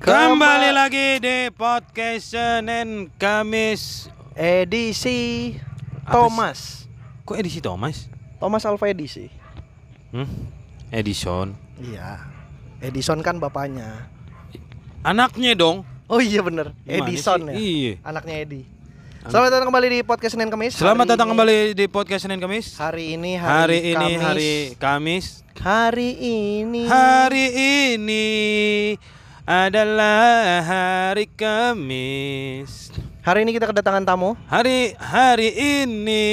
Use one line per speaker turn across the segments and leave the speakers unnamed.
Kembali lagi di podcast Senin Kamis.
edisi
Apa
Thomas.
Kok edisi Thomas?
Thomas Alva edisi.
Hmm? Edison.
Iya. Edison kan bapaknya.
Anaknya dong.
Oh iya bener
Gimana
Edison
sih?
ya.
Iya.
Anaknya Edi. Selamat datang kembali di podcast Senin Kamis.
Selamat
Hari
datang
ini-
kembali di podcast Senin Kamis.
Hari ini hari,
Hari ini
Kamis.
hari Kamis.
hari ini
Hari ini adalah hari Kamis.
hari ini kita kedatangan tamu.
Hari hari ini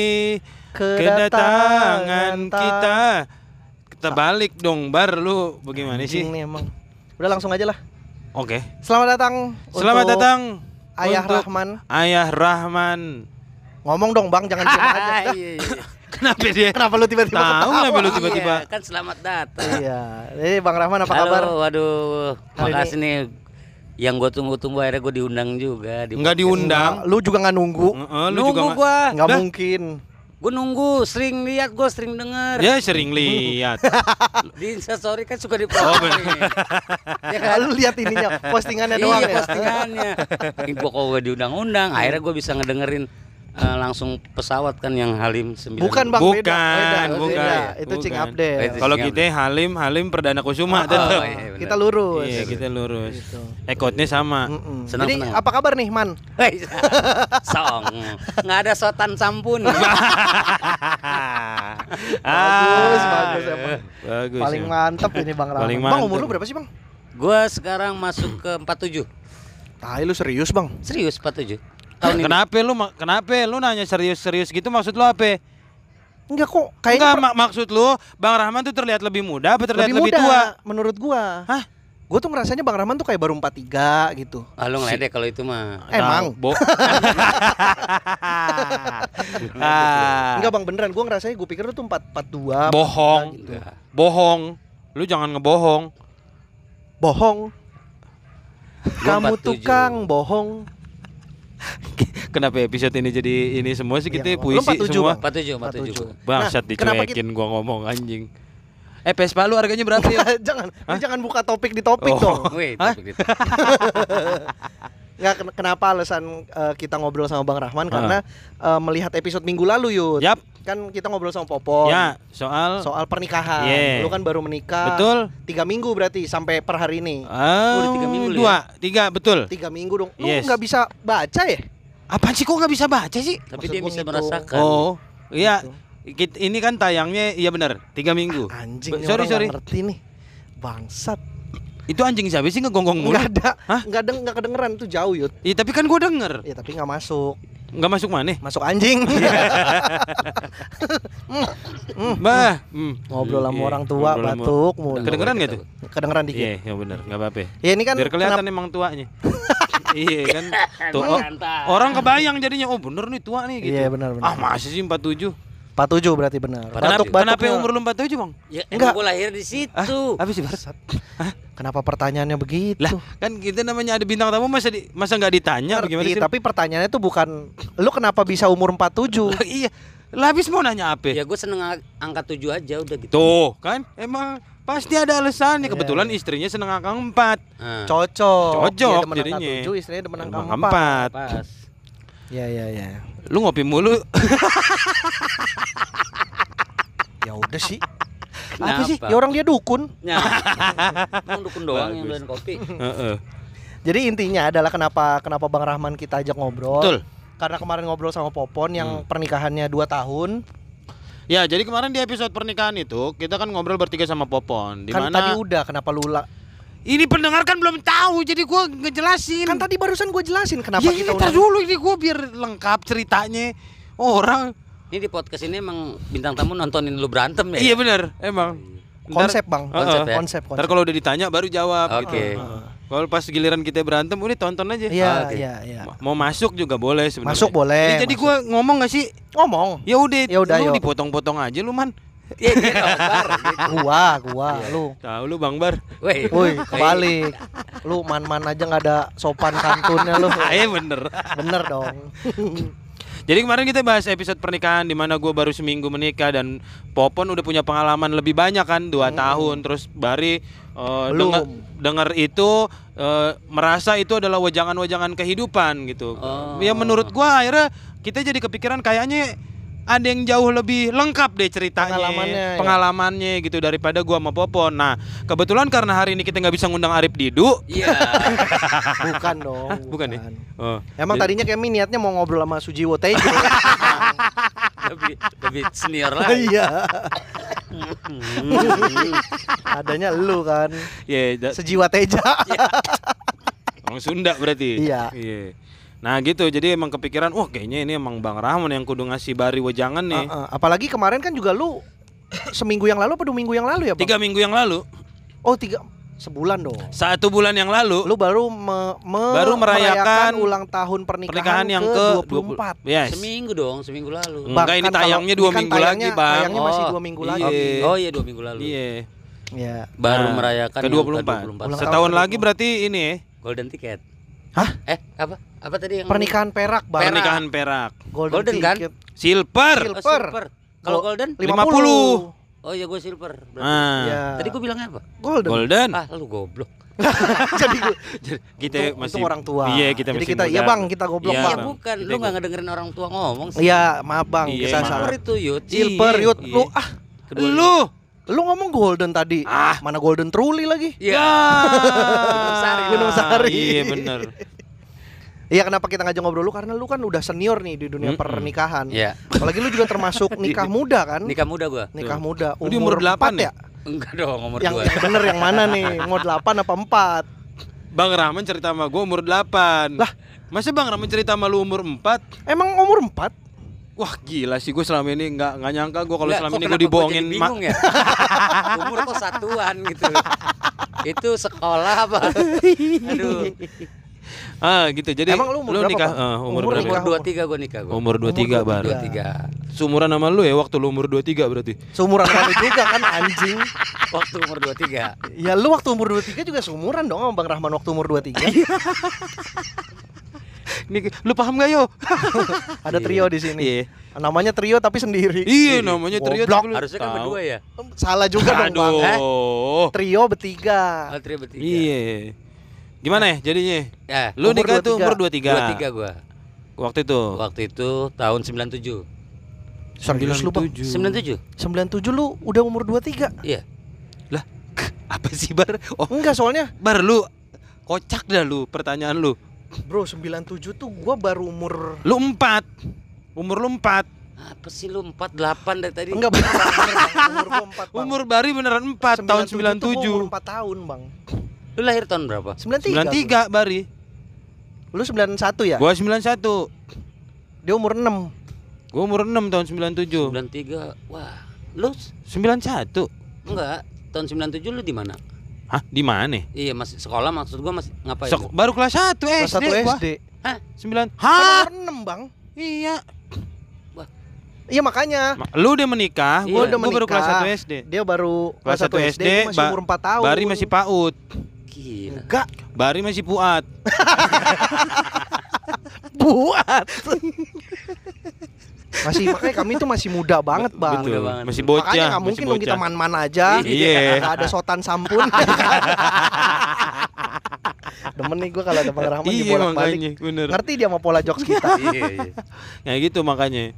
kedatangan
ta-
kita kita balik dong bar lu bagaimana
Anjing
sih?
nih emang. Udah langsung aja lah.
Oke.
Selamat datang.
Selamat
untuk
datang
Ayah
untuk
Rahman.
Ayah Rahman.
Ngomong dong Bang, jangan diam aja.
Ah,
Dah,
iya, iya.
Kenapa dia?
Kenapa lu tiba-tiba
Tahu
ketawa?
kenapa lu tiba-tiba?
Iya, kan selamat datang.
Iya. Jadi Bang Rahman apa kabar?
Halo, waduh.
Hari
makasih nih yang gue tunggu-tunggu akhirnya gue diundang juga di
Enggak
podcast.
diundang.
Lu juga nggak Iya. nunggu.
Heeh, lu juga
nunggu
nggak-
gue
Nggak
Dah.
mungkin.
gue nunggu sering lihat gue sering denger
Dia sering lihat.
Kan
di instastory kan suka di
Ya. Oh, bener.
ya kan
Lalu lihat ininya, postingannya doang
iya
ya.
postingannya gue kok gue
Iya.
diundang-undang akhirnya gue bisa ngedengerin eh, langsung pesawat kan yang Halim 9
Bukan Bang
Bukan,
beda. beda,
bukan.
Itu Ah, cing
bukan.
update.
Oh, itu
Kalau
sing
kita Halim, Halim Perdana Kusuma
Oh,
tetap.
iya, bener.
Kita lurus.
Iya, kita lurus.
Gitu.
Ekotnya sama.
Mm-mm.
Senang,
Jadi
senang.
apa kabar nih Man?
Hei, song nggak ada sotan sampun
Bagus,
bagus,
bagus emang.
Ah. Bagus.
Paling
ya.
mantep ini Bang Rahman.
Paling
bang
mantep.
umur lu berapa sih Bang?
gue sekarang masuk ke 47
Tai lu serius Bang?
serius 47 tahun ini
Kenapa lu ma- kenapa lu nanya serius-serius gitu maksud lu apa?
Enggak kok,
Enggak
kayaknya Nah, per-
mak- maksud lu Bang Rahman tuh terlihat lebih muda apa terlihat lebih,
muda,
tua?
menurut gua.
Hah?
Gua tuh ngerasanya Bang Rahman tuh kayak baru 43 gitu. Eh,
Ah, lu ngeledek kalau itu mah.
Tahu, Nah,
Emang.
Bo. Ah,
Enggak Bang beneran, gua ngerasanya gua pikir lu tuh 4 42.
bohong.
gitu.
Bohong. Lu jangan ngebohong.
Bohong. Kamu
47.
tukang bohong.
Kenapa episode ini jadi ini semua sih kita
Iya, Bang. Lu
puisi
47,
semua.
Bang.
47, 47.
Bangsat
Nah, kenapa kita-
dicuekin gua ngomong anjing. Eh Vespa lu harganya berapa ya?
jangan, lu jangan buka topik di topik
Oh.
dong.
Wih,
Hah?
topik itu.
Nggak ken- kenapa alasan eh, kita ngobrol sama Bang Rahman karena eh, melihat episode minggu lalu Yud.
Yap.
Kan kita ngobrol sama Popon.
Ya, soal,
Soal pernikahan.
Yeah.
Lu kan baru menikah.
betul.
Tiga minggu berarti sampai per hari ini.
Ah,
udah tiga minggu lu
ya?
dua, tiga betul.
Tiga minggu dong. Lu
Yes.
nggak bisa baca ya?
Apaan sih kok nggak bisa baca sih?
Tapi
Maksud
dia
gua
bisa
gitu.
merasakan.
Oh, iya.
Gitu.
Kit- Ini kan tayangnya iya benar, tiga minggu.
Anjing,
Be-
ini
sorry
orang nggak
sorry.
ngerti nih. Bangsat.
Itu anjing siapa sih ngegonggong mulu?
Nggak ada.
Hah?
Nggak deng nggak kedengeran tuh jauh Yud.
Iya, tapi kan gua denger.
Ya tapi nggak masuk.
Nggak masuk mana?
Masuk anjing.
Iya.
Mm.
Bah, hmm.
Oh. Ngobrol sama
Iya,
orang tua
ngobrol sama-
batuk mulu.
Kedengeran nggak tuh?
Kedengeran dikit.
Iya, ya benar, nggak apa-apa.
Ya ini kan
Biar kelihatan
kenapa-
emang tuanya. iya kan. Tuh, oh,
Mantap.
orang kebayang jadinya oh bener nih tua nih gitu.
Iya, benar, benar.
Ah, masih sih 47.
47 berarti benar. ya.
Kenapa,
Batuk-batuk
kenapa umur lu 47, Bang?
Ya,
Enggak.
enggak. Gue lahir di
Ah,
situ.
apa sih, Bar?
Kenapa pertanyaannya begitu?
Lah, kan kita namanya ada bintang tamu masa di, masa nggak ditanya
Ngerti,
bagaimana sih?
Iya, tapi pertanyaannya tuh bukan lu kenapa bisa umur 47?
Lah, iya. Lah habis mau nanya apa?
Iya,
Ya gue seneng ang- angka 7 aja udah gitu.
Tuh, kan emang pasti ada alasannya. Kebetulan istrinya seneng angka 4.
Ah,
Cocok.
Nah,
Iya,
Cocok
Dia demen angka
jadinya.
7, istrinya demen angka
Angka
4.
empat.
pas.
Iya, iya, iya.
Lu ngopi mulu.
Ya udah sih. Apa
Kenapa?
sih? Ya orang dia dukun.
Ya. Emang dukun doang yang doyan kopi.
Heeh.
Jadi intinya adalah kenapa kenapa Bang Rahman kita ajak ngobrol.
Betul. Hmm.
Karena kemarin ngobrol sama Popon yang pernikahannya 2 tahun.
Ya, jadi kemarin di episode pernikahan itu kita kan ngobrol bertiga sama Popon. Di
Kan tadi
mana?
udah kenapa lu la-
Ini pendengar kan belum tahu, jadi gua ngejelasin.
Kan tadi barusan gue jelasin kenapa
ya,
kita
ini tar
undang-
dulu ini gua biar lengkap ceritanya. Orang
Ini di podcast ini emang bintang tamu nontonin lu berantem ya.
Iya benar, emang. Ntar-
konsep, Bang.
Heeh.
Konsep ya?
konsep,
Ntar
konsep.
kalau udah ditanya baru jawab
Oke.
gitu. Heeh. Kalau pas giliran kita berantem udah tonton aja.
Ah,
Iya,
oke.
iya, iya.
Ma- Mau masuk juga boleh sebenarnya.
Masuk boleh,
Ini jadi
masuk.
gua ngomong gak sih?
Ngomong.
Ya udah,
Ya udah,
lu
yuk.
dipotong-potong aja lu man.
Iya, dia kabar.
gua gua lu
Tahu lu Bang Bar.
Woi.
woi kebalik lu man-man aja nggak ada sopan santunnya lu
Iya bener.
bener dong
Ah, Jadi kemarin kita bahas episode pernikahan di mana gue baru seminggu menikah dan Popon udah punya pengalaman lebih banyak kan dua tahun terus Bari eh,
Hmm. Belum.
denger, denger itu eh, merasa itu adalah wajangan-wajangan kehidupan gitu.
Oh.
Ya menurut gue akhirnya kita jadi kepikiran kayaknya ada yang jauh lebih lengkap deh ceritanya
Pengalamannya, ya.
pengalamannya gitu daripada gua sama Popon. Nah kebetulan karena hari ini kita nggak bisa ngundang Arif Didu.
Iya.
Bukan dong.
Hah, bukan ya? Oh.
Emang tadinya kami niatnya mau ngobrol sama Sujiwo Tejo.
lebih lebih senior lah.
Iya. Adanya lu kan.
Ya, da-
Sejiwa Teja.
Iya Orang Sunda berarti.
Iya.
Nah gitu, jadi emang kepikiran, wah kayaknya ini emang Bang Rahman yang kudu ngasih Bari wejangan nih.
Heeh. Apalagi kemarin kan juga lu seminggu yang lalu apa dua minggu yang lalu ya, Bang?
Tiga minggu yang lalu,
Oh, tiga sebulan dong.
satu bulan yang lalu,
Lu baru me- me-
Baru merayakan
ulang tahun pernikahan,
pernikahan yang
ke,
ke 20
24.
Yes.
Seminggu dong, seminggu lalu.
Enggak, ini
Bahkan kalau-
tayangnya dua
ini kan
minggu
tayangnya-
lagi, Bang.
Tayangnya masih dua minggu
iya.
lagi.
Oke.
Oh iya dua minggu lalu.
Iya.
Iya.
Baru
Nah,
merayakan
ke
yang
24.
Ulang
Setahun
tahun
lagi
kedua.
berarti ini ya,
Golden ticket.
Hah?
Eh apa? Apa tadi yang
Pernikahan perak, Bang.
Perak.
pernikahan perak,
Golden,
Golden kan?
ticket.
silver,
Sil-
Oh,
Silver.
silver. Kalau
Gol-
golden?
50.
Oh iya gue silver. Berarti.
nah,
Iya. Hmm.
Tadi gue bilangnya apa?
golden.
golden.
Ah lu goblok.
Jadi gua-
Kita
untung-
masih
untung orang tua.
Iya, kita
Jadi
masih
kita iya
muda.
Bang, kita goblok,
Iya,
Bang.
Iya
Bang.
bukan,
Kita
lu
ikut.
nggak ngedengerin orang tua ngomong sih.
Iya, maaf Bang,
Iya,
kita
maaf.
salah.
Silver itu yut.
Silver,
Iya,
yut.
iya.
Lu ah,
Kedua
Lu,
lu ngomong golden tadi.
Ah.
Mana golden truly lagi?
Iya. Gunung Sari.
Gunung Sari.
Iya bener.
Iya, kenapa kita ngajak ngobrol lu? Karena lu kan udah senior nih di dunia
Mm-mm.
pernikahan.
Iya.
Apalagi lu juga termasuk nikah muda kan?
Nikah muda gua.
Nikah muda
Lu di umur delapan
empat
ya?
Enggak dong, umur
Yang,
dua.
yang bener yang mana nih? Mau 8 apa 4?
Bang Rahman cerita sama gue umur 8 Lah Masa Bang Rahman cerita sama lu umur 4?
Emang umur 4?
Wah gila sih gue selama ini nggak nggak nyangka gue kalau
Nggak,
selama
kok
ini gue
kenapa gua
dibohongin
jadi
mak
bingung ya? Umur kok satuan gitu. Itu sekolah apa? Aduh.
ah gitu jadi
Emang lu umur berapa,
nikah
Bang?
eh, umur,
Umur
berapa?
Umur
nikah.
23 gua nikah gua.
Umur 23
Umur
baru.
23.
Sumuran sama lu ya waktu lu umur 23 berarti.
Seumuran kami juga kan anjing.
Waktu umur 23.
Ya lu waktu umur 23 juga seumuran dong sama Bang Rahman waktu umur 23.
Iya. Ini lu paham gak yo?
Ada trio di sini.
Iya.
Namanya trio tapi sendiri.
Iya namanya trio
Goblok.
tapi lu
Harusnya kan
tahu.
berdua ya.
Salah juga dong Bang.
Aduh.
Eh, Trio bertiga.
Oh, tri bertiga.
Iya. Gimana ya jadinya?
Ya.
Lu
Umur
nikah tuh
23.
umur 23.
23 gua.
Waktu itu.
Waktu itu tahun 97.
Serius lu Bang? 97
97?
lu udah umur 23?
Iya.
Lah, apa sih bar? Oh,
Enggak soalnya
bar lu kocak dah lu pertanyaan lu.
bro 97 tuh gua baru umur
Lu 4. Umur lu 4.
Apa sih lu 48 dari tadi?
Enggak bener, Bang. Bener, Bang. umur gua 4 Bang.
Umur Bari beneran 4 tahun
97 tuh gua Umur
97.
4 tahun bang
Lu lahir tahun berapa?
93
93,
Bari.
gua. Lu 91 ya?
Gua 91.
Dia umur 6
Gua umur 6 tahun 97.
93. Wah, lu s-
91.
enggak tahun 97 lu di mana?
Hah, di mana?
Iya, masih sekolah maksud gua masih ngapain?
Sek-
lu?
baru kelas 1 Eh, SD.
Kelas 1
gua. Ah!
SD
9.
Kan
Hah?
umur 6 bang
Iya.
Iya makanya
Ma- Lu udah menikah,
Iya.
gua,
Lu udah
gua baru kelas
menikah.
1 SD.
Dia baru
Kelas 1 SD,
gua masih
Ba-
umur 4 tahun
Bari masih PAUD.
Gila.
Enggak
Bari masih Puat.
buat Masih makanya kami tuh masih muda banget bang
Betul.
banget.
Masih bocah.
Makanya nggak
masih
mungkin dong kita
bocah.
man-man aja
Iya.
Nggak ada sotan sampun Demen nih gua kalau ada Bang Rahman
Iya
dibolak-balik
makanya, bener.
Ngerti dia sama pola jokes kita
Iya, iya.
Ya gitu makanya.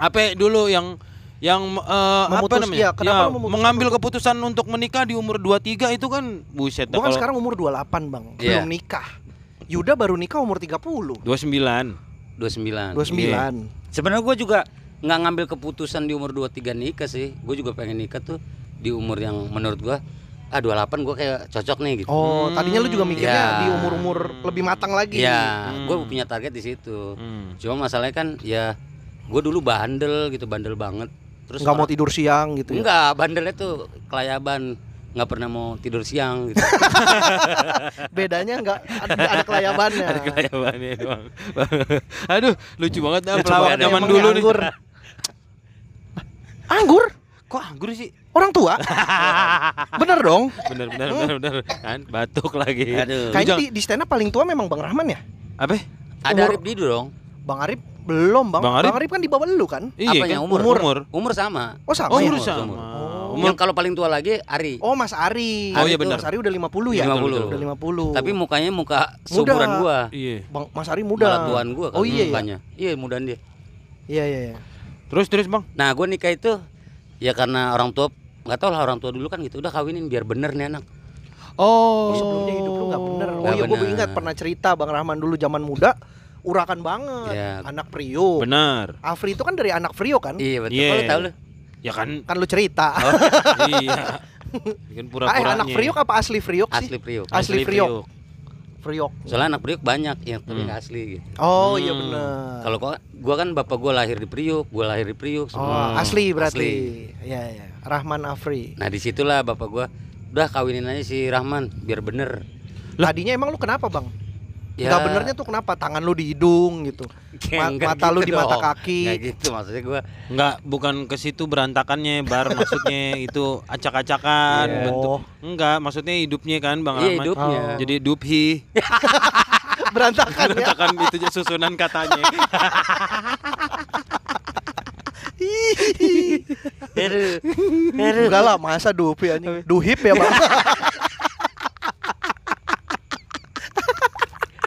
Apa dulu yang yang eh, apa
Memutus-
namanya?
iya, kenapa
Ya,
lu memutuskan
mengambil keputusan untuk menikah di umur 23 itu kan buset dah
Gua kan
kalau
sekarang umur 28 bang
Iya.
Belum nikah Yuda baru nikah umur 30
29.
29
29.
Hmm.
Sebenarnya gua juga nggak ngambil keputusan di umur 23 nikah sih. Gua juga pengen nikah tuh di umur yang menurut gua ah 28 gua kayak cocok nih gitu.
Oh tadinya lu juga mikirnya
Iya.
di umur-umur lebih matang lagi
Iya,
Hmm.
gua punya target di situ.
Hmm.
Cuma masalahnya kan ya gua dulu bandel gitu, bandel banget. Terus
Nggak mau
orang-
tidur siang gitu ya
Enggak, bandelnya tuh kelayaban nggak pernah mau tidur siang gitu.
Bedanya nggak ada, ada kelayabannya
Ada kelayabannya doang. Aduh, lucu banget dah
Lucu
pelawak
banget
zaman
Emangnya
dulu nih.
anggur. Anggur?
Kok anggur sih?
Orang tua? Bener dong
Bener bener bener bener kan batuk lagi. Lu
Aduh.
Kayaknya
jangan-
di, di stand up paling tua memang Bang Rahman ya
apa?
Ada
Umur-
Arif Didu dong.
Bang Arif Belum bang.
Bang Arif?
kan di bawah lu kan?
Iya
Apanya,
kan?
umur?
Umur. umur.
Umur sama.
Oh sama
Oh,
ya?
umur
Umur,
sama.
umur.
Oh.
Umur.
Yang kalau paling tua lagi Ari.
Oh Mas Ari.
Oh, iya
Itu
benar.
Mas Ari udah 50 ya?
50.
Udah 50.
Tapi mukanya muka seumuran gua.
Iya.
Bang Mas Ari muda.
Malah tuan gua kan
Oh iya ya.
mukanya. Iya, mudaan dia.
Iya iya iya.
Terus terus bang.
Nah, gua nikah itu ya karena orang tua nggak tau lah orang tua dulu kan gitu udah kawinin biar bener nih anak
Oh.
Oh, sebelumnya hidup lu gak bener. Oh
Nggak
iya gue
bener.
ingat pernah cerita Bang Rahman dulu zaman muda urakan banget.
Iya.
Anak Prio.
Benar.
Afri itu kan dari anak Frio kan?
iya betul
Iya.
kalau tahu lu
Ya kan.
Kan lu cerita.
iya. Bikin
Ah, eh,
pura-puranya.
anak Priok apa asli Priok sih?
asli Priok
Asli Priok. Priok.
soalnya anak Priok banyak yang tapi
Hmm.
nggak asli gitu
Oh iya
Hmm.
benar.
kalau gua gua kan bapak gua lahir di Priok gua lahir di Priok
Oh,
semua.
asli berarti.
Hmm. Asli.
Iya iya. Rahman Afri.
nah disitulah bapak gua udah kawinin aja si Rahman biar bener
Lah.
Tadinya emang lu kenapa, Bang?
Ya.
Nggak benernya tuh kenapa? Tangan lu di hidung gitu. Ma-
Nggak
mata lu
gitu
di mata
dong.
kaki.
Nggak gitu maksudnya gua
Enggak, bukan ke situ berantakannya, Bar. Maksudnya itu acak-acakan
Iya.
bentuk.
Oh.
Enggak, maksudnya hidupnya kan Bang
iya
Rahmat.
hidupnya
Oh.
Jadi duphi.
Berantakan ya.
Berantakan itu aja susunan katanya.
Aduh. Aduh.
Enggak lah, masa dupi anjing. Duhip ya, Bang.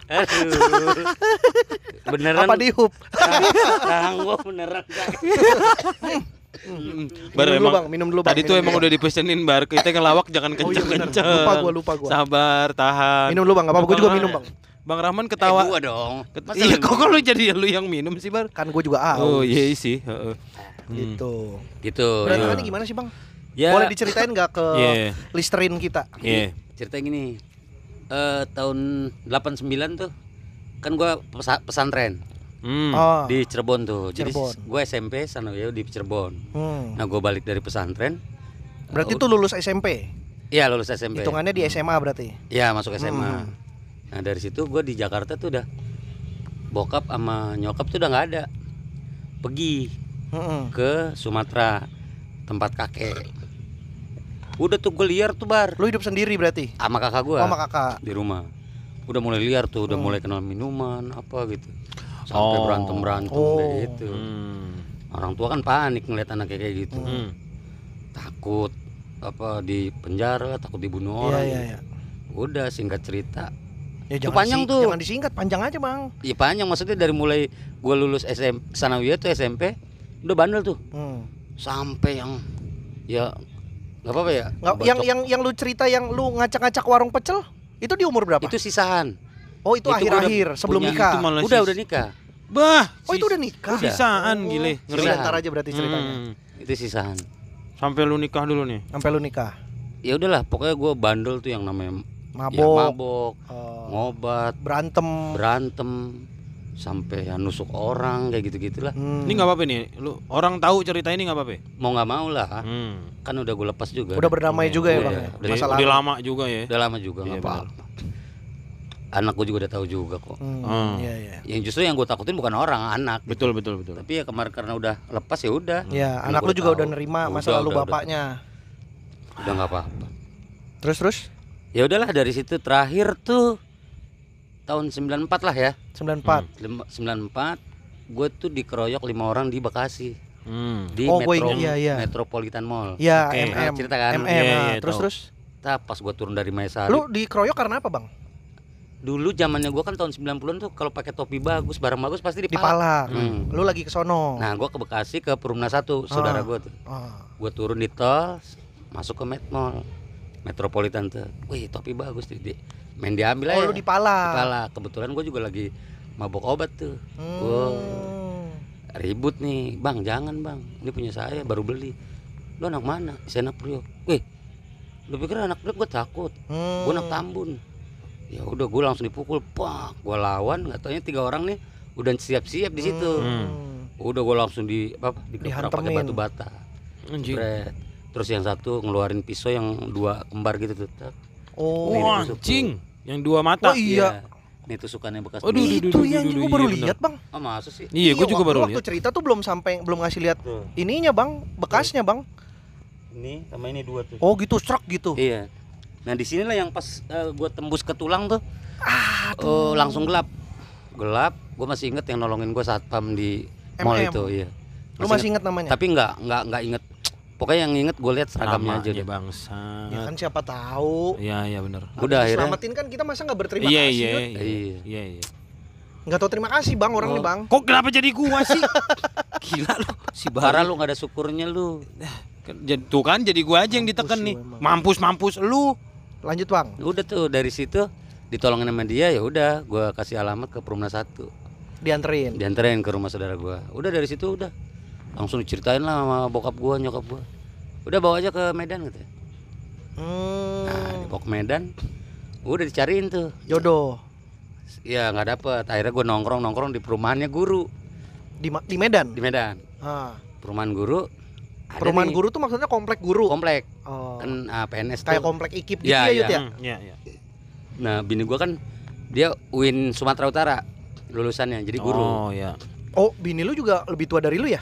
Aduh. beneran
apa dihup?
Tangan gua beneran Kak.
Hmm. Bar
Minum dulu,
emang
Bang, minum dulu, Bang,
Tadi tuh
minum
emang
dulu,
udah dipesenin Bar, kita ngelawak jangan
Oh iya benar.
kenceng-kenceng.
Lupa gua, lupa gua.
Sabar, tahan.
Minum dulu, Bang. Gak apa-apa, gua juga
Bang
minum, Bang.
Bang Rahman
Eh,
ketawa.
gua dong
Ket-
Masa
iya,
lu-
kok kok lu jadi lu yang minum sih, Bar?
Kan gua juga
Oh,
aus.
iya sih, heeh. Hmm.
Gitu.
gitu
Berantakannya
ya.
gimana sih, Bang?
Ya.
Boleh diceritain nggak ke
Iya.
listerin kita?
Iya.
cerita gini eh tahun 89 tuh kan gua pesa- pesantren
Hmm.
Oh.
di Cirebon tuh jadi
Cirebon.
gua SMP Sanoyo di Cirebon
Hmm.
nah gua balik dari pesantren Uh,
Berarti tuh lulus SMP.
Oh. Iya lulus SMP
Hitungannya di SMA berarti.
Iya masuk SMA
Hmm.
nah dari situ gua di Jakarta tuh udah bokap sama nyokap tuh udah nggak ada pergi
Mm-mm.
ke Sumatera tempat kakek udah tuh gue liar tuh bar
Lu hidup sendiri berarti.
sama kakak gua
Oh, sama kakak.
di rumah udah mulai liar tuh udah
Hmm.
mulai kenal minuman apa gitu sampai
Oh.
berantem berantem
Oh.
kayak gitu
Hmm.
orang tua kan panik ngeliat anaknya kayak gitu
Hmm.
takut apa di penjara lah, takut dibunuh
Iya
orang gitu.
iya iya.
udah singkat cerita
Ya
Itu
jangan
panjang
sih-
tuh.
Jangan disingkat, panjang aja, Bang.
ya panjang maksudnya dari mulai gua lulus SM Sanawiyah tuh SMP udah bandel tuh
Hmm.
sampai yang ya nggak apa-apa ya
Nggak,
bacok.
yang yang yang lu cerita yang lu ngacak-ngacak warung pecel itu di umur berapa?
itu sisahan
oh itu
itu gua udah
akhir-akhir sebelum
punya.
Itu
nikah.
malah
udah
sis-
udah nikah
Bah.
Oh itu udah nikah.
Udah.
Sisaan
Oh,
gile,
Ngeri
ngeri.
Sisaan.
ntar aja berarti ceritanya.
Hmm.
itu sisahan
Sampai lu nikah dulu nih.
Sampai lu nikah.
ya udahlah pokoknya gua bandel tuh yang namanya
Mabok.
ya, mabok
eh,
ngobat
berantem.
berantem sampai ya nusuk orang kayak gitu gitulah
Hmm.
Ini nggak apa-apa nih. Lu orang tahu cerita ini nggak apa-apa.
mau nggak mau lah
Hmm.
kan udah gue lepas juga
Udah berdamai Ah. juga ya,
Udah,
Bang. ya?
udah,
Masa
Iya, Udah,
lalu.
udah lama juga ya.
udah lama juga nggak
Iya,
apa-apa anak gue juga udah tahu juga kok
Hmm,
Ah.
Iya iya.
yang justru yang gue takutin bukan orang anak
Betul betul betul.
tapi ya kemarin karena udah lepas ya udah
Hmm.
Ya,
Karena
anak
gua
lu juga
tahu.
udah nerima masa
Udah,
lalu
udah, udah.
bapaknya.
udah nggak apa-apa
Terus terus
ya udahlah dari situ terakhir tuh tahun 94 lah ya
Hmm.
94.
Lima- 94 gue tuh dikeroyok lima orang di Bekasi
Hmm.
di
Oh, gua
Metro,
ingat, iya, iya.
Metropolitan Mall
Ya,
Oke.
MM.
Cerita kan?
MM.
Iya,
ah,
iya,
terus
tahu.
terus.
Nah, pas gua turun dari Maesari.
Lu dikeroyok karena apa, Bang?
dulu zamannya gua kan tahun 90-an tuh kalau pakai topi bagus, barang bagus pasti
Di
dipalak.
pala.
Hmm.
Lu lagi ke sono.
Nah, gua ke Bekasi ke Perumna 1,
Ah.
saudara gua tuh.
Ah.
Gua turun di tol, masuk ke Met Mall. Metropolitan tuh. Wih, topi bagus tuh. Di, main diambil
Oh,
aja.
lu di pala.
Dipalak. Kebetulan gua juga lagi mabok obat tuh.
Hmm.
Gua ribut nih, "Bang, jangan, Bang. Ini punya saya, baru beli." Lu anak mana? Saya anak Priok. Wih. Lu pikir anak Priok gua takut.
Hmm.
gue anak Tambun ya udah gue langsung dipukul pak gue lawan nggak taunya tiga orang nih udah siap-siap di situ
Hmm.
udah gue langsung di apa digebrak pakai
Dihantemin.
batu bata
Anjing.
Jebret. terus yang satu ngeluarin pisau yang dua kembar gitu tuh Tet.
Oh.
Ini
Wah,
ditusuk
anjing. Yang dua mata.
Oh, iya.
Iya. ini tusukannya bekas
Aduh,
bumi.
aduh,
itu
aduh,
yang
aduh,
gue
aduh,
baru
iya,
lihat, Bang.
ah masa sih
Iya, gue juga
waktu-
baru
Waktu
lihat.
cerita tuh belum sampai belum ngasih lihat
Tuh,
ininya, Bang. Bekasnya, Bang.
ini sama ini dua tuh
Oh, gitu serak gitu.
iya nah di sinilah yang pas gue tembus ke tulang tuh Eh, langsung Oh, gelap gelap gue masih inget yang nolongin gue saat pam di
MM.
mall itu iya
Lu masih ingat namanya?
tapi nggak nggak nggak inget pokoknya yang inget gue lihat
Nama
seragamnya aja
dia
deh
bangsa.
Ya kan siapa tahu.
Iya iya benar.
udah akhirnya
Selamatin kan kita masa nggak berterima
Iya
kasih.
iya
Yud?
iya.
Iya.
Iya iya.
Nggak tahu terima kasih bang orang
Oh.
nih bang.
Kok kenapa jadi gua sih? Gila lu si
parah
Bara
lu nggak ada syukurnya lu
Jadi- Tuh kan jadi gua aja yang
Mampus
ditekan
lu
nih.
emang.
Mampus mampus lu.
Lanjut bang.
udah tuh dari situ ditolongin sama dia ya udah gue kasih alamat ke Perumnas satu
Dianterin.
dianterin ke rumah saudara gua udah dari situ udah langsung diceritain lah sama bokap gua nyokap gua udah bawa aja ke Medan gitu nah
Hmm.
dibawa ke Medan udah dicariin tuh
Jodoh
ya nggak dapet akhirnya gua nongkrong nongkrong di perumahannya guru
di Ma- di Medan.
di Medan
Ah.
perumahan guru ada
Perumahan
nih,
guru tuh maksudnya komplek guru.
komplek
Oh.
kan ah, PNS
Kayak
tuh.
komplek ikip gitu
Iya,
ya Yud
iya.
ya.
Hmm, Iya iya.
nah bini gua kan dia UIN Sumatera Utara lulusannya jadi guru
Oh iya.
Oh bini lu juga lebih tua dari lu ya?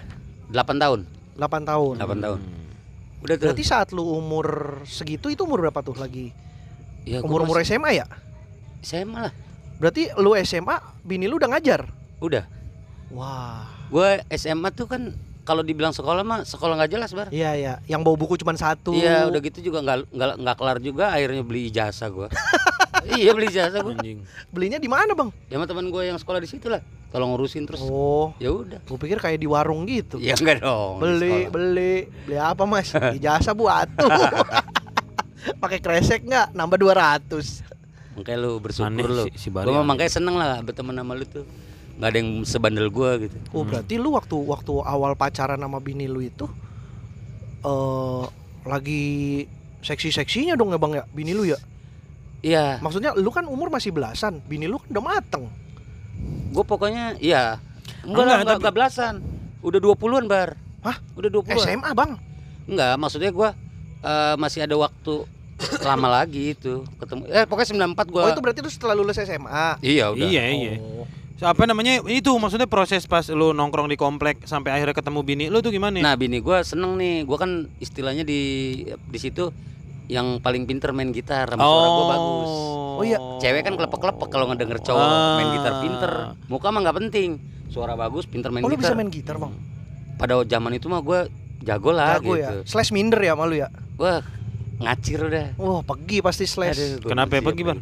8 tahun
8 tahun.
8 tahun
Hmm.
udah tuh
Berarti saat lu umur segitu itu umur berapa tuh lagi?
ya, gua
Umur-umur
masih-
SMA ya?
saya malah
Berarti lu SMA, bini lu udah ngajar?
udah
Wah,
Gue SMA tuh kan kalau dibilang sekolah mah sekolah nggak jelas bar.
iya ya, yang bawa buku cuma satu.
Iya udah gitu juga nggak nggak nggak kelar juga akhirnya beli ijazah gue. iya beli ijazah gue.
Anjing.
Belinya di mana bang?
Ya sama teman gue yang sekolah di situ lah. Tolong ngurusin terus.
Oh,
Ya udah.
gue pikir kayak di warung gitu.
Ya enggak dong. di
Beli,
sekolah.
beli, beli apa mas? Ijazah bu atuh. Pakai kresek nggak? Nambah 200
Makanya lu
Aneh
bersyukur lu.
si, si Bari
Gue mah
aneh.
makanya seneng lah berteman sama lu tuh. Gak ada yang sebandel gue gitu.
Oh berarti lu waktu waktu awal pacaran sama bini lu itu eh lagi seksi-seksinya dong ya bang ya bini lu ya
Iya.
maksudnya lu kan umur masih belasan bini lu kan udah mateng
Gue pokoknya iya. Enggak
Enggak,
lah enggak,
tapi-
enggak belasan. Udah 20-an bar.
Hah? Eh,
Udah 20-an.
SMA bang
Enggak, maksudnya gua eh, masih ada waktu lama lagi itu ketemu. Eh pokoknya 94 gua.
oh itu berarti lu setelah lulus SMA
Iya udah.
Iya iya.
Oh.
So, apa namanya itu maksudnya proses pas lu nongkrong di komplek sampai akhirnya ketemu bini lu tuh gimana?
Nah, bini gua seneng nih. Gua kan istilahnya di di situ yang paling pinter main gitar, sama suara gua bagus.
Oh, Ah. iya.
Cewek kan kelepek-kelepek kalau ngedenger cowok
Ah.
main gitar pinter. Muka mah nggak penting. Suara bagus, pinter main
Oh, lu bisa
gitar.
main gitar bang?
Pada zaman itu mah gua jago lah
Jago ya.
gitu.
Slash minder ya malu ya.
Wah, ngacir udah.
Wah pergi pasti slash.
Aduh, gua
Kenapa ya,
benci
pergi, Bar?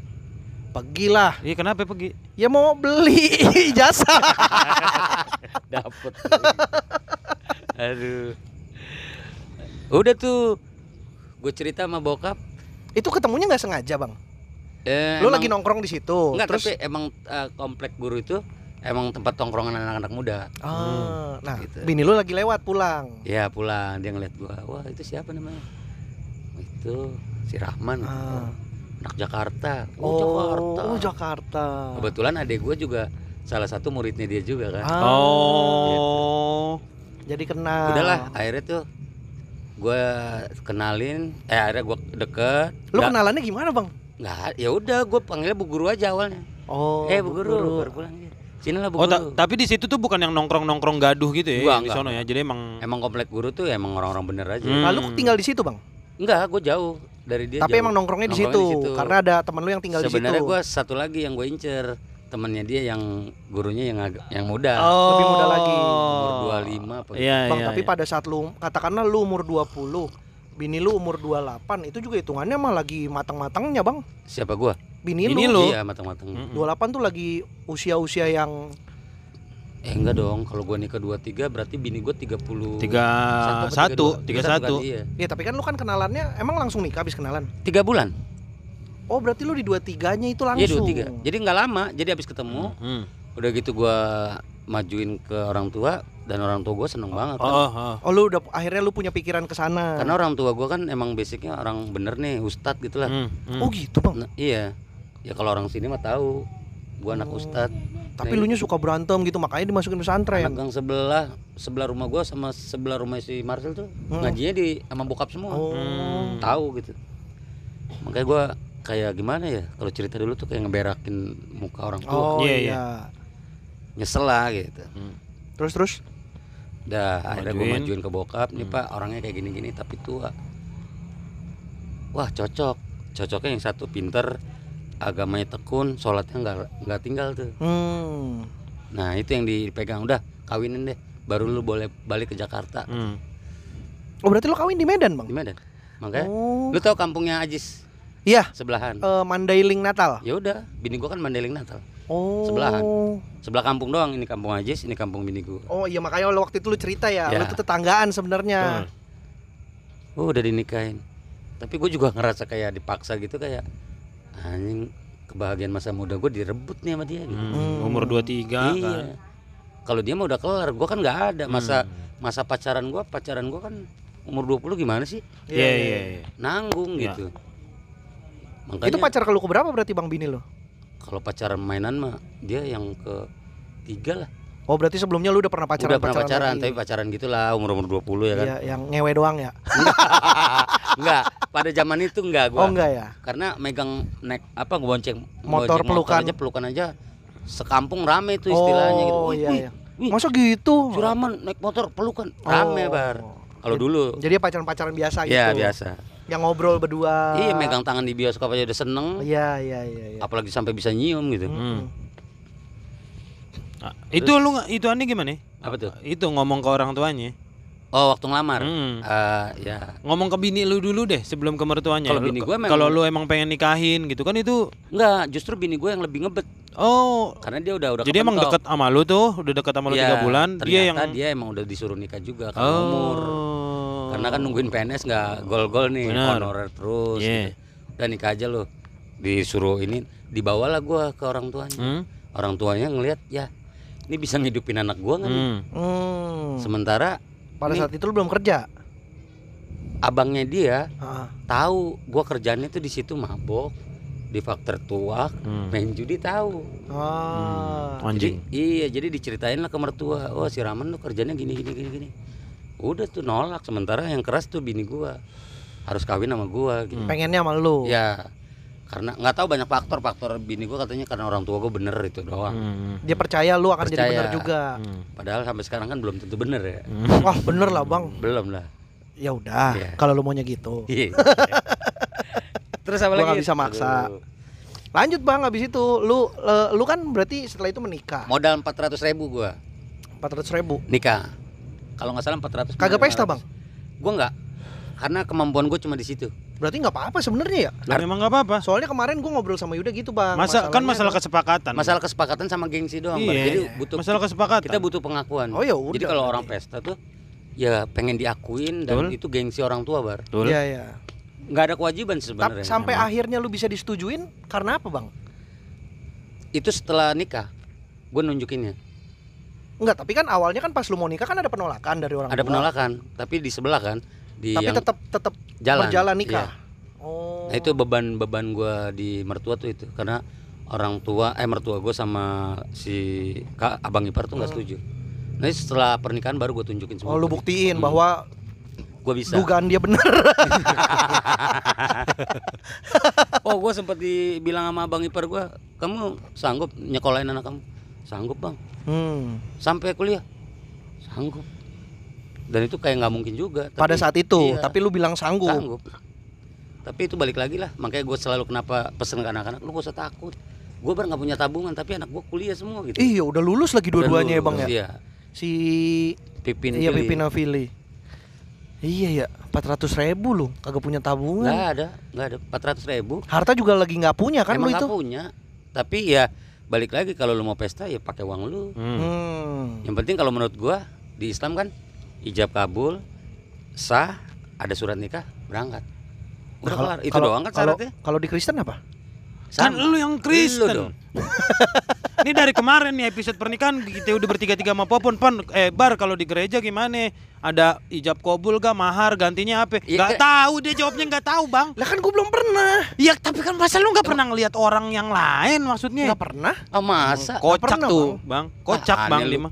Pergi lah.
Iya kenapa pergi?
Ya mau beli jasa.
dapet aduh udah tuh gue cerita sama bokap
Itu ketemunya nggak sengaja bang.
eh,
Lu
emang-
lagi nongkrong di situ.
enggak
terus.
tapi emang eh, komplek guru itu emang tempat tongkrongan anak-anak muda
Ah, nah,
gitu.
bini lu lagi lewat pulang.
ya pulang dia ngeliat gua wah itu siapa namanya itu si Rahman
Ah.
anak Jakarta Gitu. oh,
Oh,
Jakarta
oh, Jakarta.
kebetulan adek gua juga salah satu muridnya dia juga kan
Ah,
Oh.
Gitu.
Jadi kenal.
udahlah akhirnya tuh gua kenalin eh akhirnya gua deket
Lu
Nggak-
kenalannya gimana bang?
Nggak, ya udah gue panggilnya Bu Guru aja awalnya.
Oh,
eh Bu Guru, baru pulang dia. Sini lah Bu
Oh, ta-
Guru.
tapi di situ tuh bukan yang nongkrong-nongkrong gaduh gitu ya
Enggak,
yang di
enggak.
sono ya. Jadi emang
Emang komplek guru tuh ya emang orang-orang bener aja.
Hmm.
Lalu Nah, tinggal di situ bang.
Enggak, gue Iya, jauh dari dia.
tapi emang nongkrongnya di situ,
Nongkrongnya di situ.
karena ada teman lu yang tinggal
Sebenarnya
di situ.
gue satu lagi yang gue incer temennya dia yang gurunya yang agak yang muda.
oh.
lebih muda lagi.
Umur 25 apa gitu.
Iya,
Bang,
iya,
tapi
iya.
pada saat lu katakanlah lu umur 20, bini lu umur 28, itu juga hitungannya mah lagi matang-matangnya, Bang.
Siapa gue?
Bini,
Bini
lu,
lu. Hmm.
Iya matang-matang.
Mm-mm.
28 tuh lagi usia-usia yang
Eh enggak dong, kalau gue nikah 23 berarti bini gue 30.
tiga satu tiga satu
Iya.
ya tapi kan lu kan kenalannya emang langsung nikah habis kenalan.
3 bulan.
Oh, berarti lu di 23-nya itu
Iya
langsung.
23. Jadi nggak lama, jadi habis ketemu
Hmm.
udah gitu gua majuin ke orang tua dan orang tua gua seneng banget kan.
Oh, oh.
Oh, lu udah akhirnya lu punya pikiran ke sana.
karena orang tua gua kan emang basicnya orang bener nih ustad gitu lah
Hmm, hmm.
Oh, gitu, Bang.
Nah, iya ya kalau orang sini mah tahu gua anak
Oh.
ustad
Nah, iya.
Tapi lu nya suka berantem gitu, makanya dimasukin pesantren.
anak gang sebelah sebelah rumah gua sama sebelah rumah si Marcel tuh
Hmm.
ngajinya di sama bokap semua
Oh.
Hmm.
gitu. tahu gitu makanya gua kayak gimana ya kalau cerita dulu tuh kayak ngeberakin muka orang tua
Iya,
Oh, iya.
iya.
nyesel lah gitu
Terus terus
Dah, akhirnya gue
Majuin.
majuin ke bokap, nih
Hmm.
pak orangnya kayak gini-gini tapi tua. Wah cocok, cocoknya yang satu pinter, agamanya tekun, sholatnya nggak nggak tinggal tuh.
hmm.
Nah itu yang dipegang udah kawinin deh baru lu boleh balik ke Jakarta
Hmm.
Oh berarti lo kawin di Medan bang?
di Medan.
Iya.
Makanya
Oh
lu tahu kampungnya Ajis
iya
sebelahan.
eh, Mandailing Natal.
Ya udah bini gua kan Mandailing Natal.
Oh
Sebelahan. Sebelah kampung doang ini kampung Ajis ini kampung bini gua.
Oh iya makanya lo waktu itu lo cerita ya,
Ya.
lo
Iya.
tuh tetanggaan sebenarnya.
Oh udah dinikahin. Tapi gue juga ngerasa kayak dipaksa gitu kayak anjing kebahagiaan masa muda gue direbut nih sama dia gitu.
Hmm. Umur 23
iya.
kan.
Kalau dia mah udah kelar, gue kan nggak ada masa
Hmm.
masa pacaran gue, pacaran gue kan umur 20 gimana sih?
Iya iya iya.
Nanggung
Ya.
gitu.
Itu
Makanya
pacar ke lu keberapa berarti bang bini lo?
kalau pacaran mainan mah dia yang ke tiga lah.
Oh berarti sebelumnya lu udah pernah pacaran?
udah pernah pacaran, tapi
lagi.
pacaran gitulah umur umur 20 ya kan.
Iya, yang ngewe doang ya?
Enggak, pada zaman itu enggak gua.
Oh enggak ya?
karena megang naik apa bonceng
Motor
bonceng
pelukan.
aja pelukan aja sekampung rame tuh istilahnya gitu.
Oh
Wih,
iya
wih,
iya.
wih,
Masa gitu?
Suraman naik motor pelukan
Oh.
rame bar. Kalau dulu
Jadi ya pacaran-pacaran biasa gitu.
ya biasa.
Yang ngobrol berdua.
Iya megang tangan di bioskop aja udah seneng
Ah. Iya iya iya. Hmm. iya.
apalagi sampai bisa nyium gitu.
Mm-mm.
Ah, Hmm. itu lu nggak- itu aneh gimana?
Nah, Apa tuh?
Itu ngomong ke orang tuanya.
Oh waktu ngelamar.
Hmm.
Eh, ya
Ngomong ke bini lu dulu deh sebelum ke mertuanya.
Kalau
Lu-
bini gua memang-
kalau lu emang pengen nikahin gitu kan itu
enggak justru bini gue yang lebih ngebet
oh
karena dia udah udah
jadi emang
kepentok.
deket sama lu tuh, udah deket sama lu
Iya,
tiga bulan, dia yang
ternyata dia emang udah disuruh nikah juga karena umur.
Oh.
Karena kan nungguin PNS nggak gol-gol nih
Benar.
honorer terus.
Iya.
gitu. Udah nikah aja loh. Disuruh ini dibawalah gua ke orang tuanya.
Hmm?
Orang tuanya ngelihat ya ini bisa ngidupin anak gua kan.
Hmm.
Hmm.
Sementara
Pada
ini
saat itu lu belum kerja.
abangnya dia
Ah.
tahu gua kerjanya tuh di situ mabok di faktor tua
Hmm.
main judi tahu
Ah.
Anjing.
Jadi, iya, jadi diceritain lah ke mertua. Oh, si Raman tuh kerjanya gini gini gini gini. Udah tuh nolak sementara yang keras tuh bini gua. Harus kawin sama gua gitu.
Pengennya sama lu.
Ya. Karena nggak tahu banyak faktor, faktor bini gua katanya karena orang tua gua bener itu doang.
Hmm.
Dia percaya lu akan jadi
Percaya.
bener juga.
Hmm.
Padahal sampai sekarang kan belum tentu bener ya.
Wah, bener lah, Bang.
Belum lah.
Ya udah,
Iya.
kalau lu maunya gitu.
Iya. Terus apa
Gua
lagi?
nggak bisa maksa.
Aduh.
Lanjut, Bang, habis itu lu le- lu kan berarti setelah itu menikah.
Modal 400 ribu gua
400 ribu
nikah. Kalau nggak salah 400.
Kagak pesta, Bang?
Gua nggak. Karena kemampuan gua cuma di situ.
Berarti nggak apa-apa sebenarnya ya.
Lah, memang nggak apa-apa.
Soalnya kemarin gua ngobrol sama Yuda gitu, Bang.
Ah. Masa kan masalah
Masalahnya
kesepakatan.
Masalah kesepakatan sama gengsi doang. Bar.
Iya.
Jadi butuh
masalah kesepakatan.
kita butuh pengakuan.
Oh, ya udah.
Jadi kalau orang pesta tuh ya pengen diakuin dan
Betul.
itu gengsi orang tua bar.
Betul.
Iya, iya.
Nggak ada kewajiban sih
Tap-
sebenarnya.
sampai
ya, Emang.
akhirnya lu bisa disetujuin karena apa, Bang?
itu setelah nikah, gue nunjukinnya.
Enggak, tapi kan awalnya kan pas lu mau nikah kan ada penolakan dari orang
Ada
tua.
penolakan, tapi di sebelah kan di
Tapi
yang
tetap tetap
jalan.
berjalan
Iya.
nikah. Oh.
Nah, itu beban-beban gue di mertua tuh itu karena orang tua eh mertua gue sama si kak abang ipar tuh nggak setuju. Nah setelah pernikahan baru gue tunjukin
Hmm. Oh,
semua.
lu buktiin bahwa
Gue Hmm, bisa.
dugaan dia benar.
Oh, gue sempat dibilang sama abang ipar gue, kamu sanggup nyekolahin anak kamu? Sanggup bang,
Hmm.
sampai kuliah? Sanggup. Dan itu kayak nggak mungkin juga. tapi-
Pada saat itu,
Iya,
tapi lu bilang sanggup.
sanggup. Tapi itu balik lagi lah, makanya gue selalu kenapa pesen ke anak-anak, lu gak usah takut. Gue bar nggak punya tabungan, tapi anak gue kuliah semua gitu.
Iya, udah lulus lagi dua-duanya ya, Bang ya.
Iya,
Si
Pipin
Iya,
Pilih.
Pipin Afili. Iya ya, 400 ribu lu kagak punya tabungan.
Nggak ada, nggak ada. 400 ribu.
Harta juga lagi nggak punya Nah, kan lu
Emang
itu.
nggak punya, tapi ya balik lagi kalau lu mau pesta ya pakai uang lu.
Hmm.
Hmm.
Yang penting kalau menurut gua di Islam kan ijab kabul, sah, ada surat nikah, berangkat. Udah kelar. Itu
Nah, Kalau-
doang kan
kalau-
syaratnya?
Kalau di Kristen apa?
Kan
Sama.
lu yang Kristen.
Lu dong.
Ini dari kemarin nih episode pernikahan kita udah bertiga-tiga sama Popon Pon eh bar kalau di gereja gimana? Ada ijab kobul gak mahar gantinya apa?
Iya,
Gak
kayak-
tahu dia jawabnya gak tahu bang.
Lah kan gue belum pernah.
Iya tapi kan masa lu gak pernah ngelihat orang yang lain maksudnya?
Nggak pernah.
Ah, masa?
Kocak
pernah,
tuh bang, kocak
Ah,
bang
aneh lu.
lima.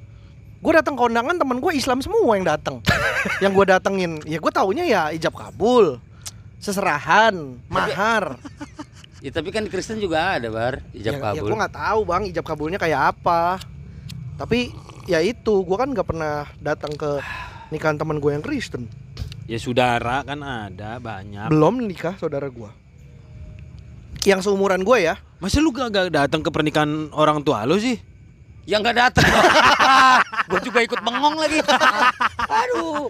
Gue datang ke kondangan temen gue Islam semua yang datang. yang gue datengin, ya gue taunya ya ijab kabul, seserahan, mahar.
Ya, tapi kan di Kristen juga ada, Bar.
ya,
Ijab kabul.
gue nggak tahu bang, ijab kabulnya kayak apa. Tapi ya itu, gue kan nggak pernah datang ke nikahan temen gue yang Kristen.
Ya saudara kan ada banyak.
Belum nikah saudara gue. Yang seumuran gue ya.
Masa lu gak, gak datang ke pernikahan orang tua lu sih?
yang nggak datang gue juga ikut bengong lagi aduh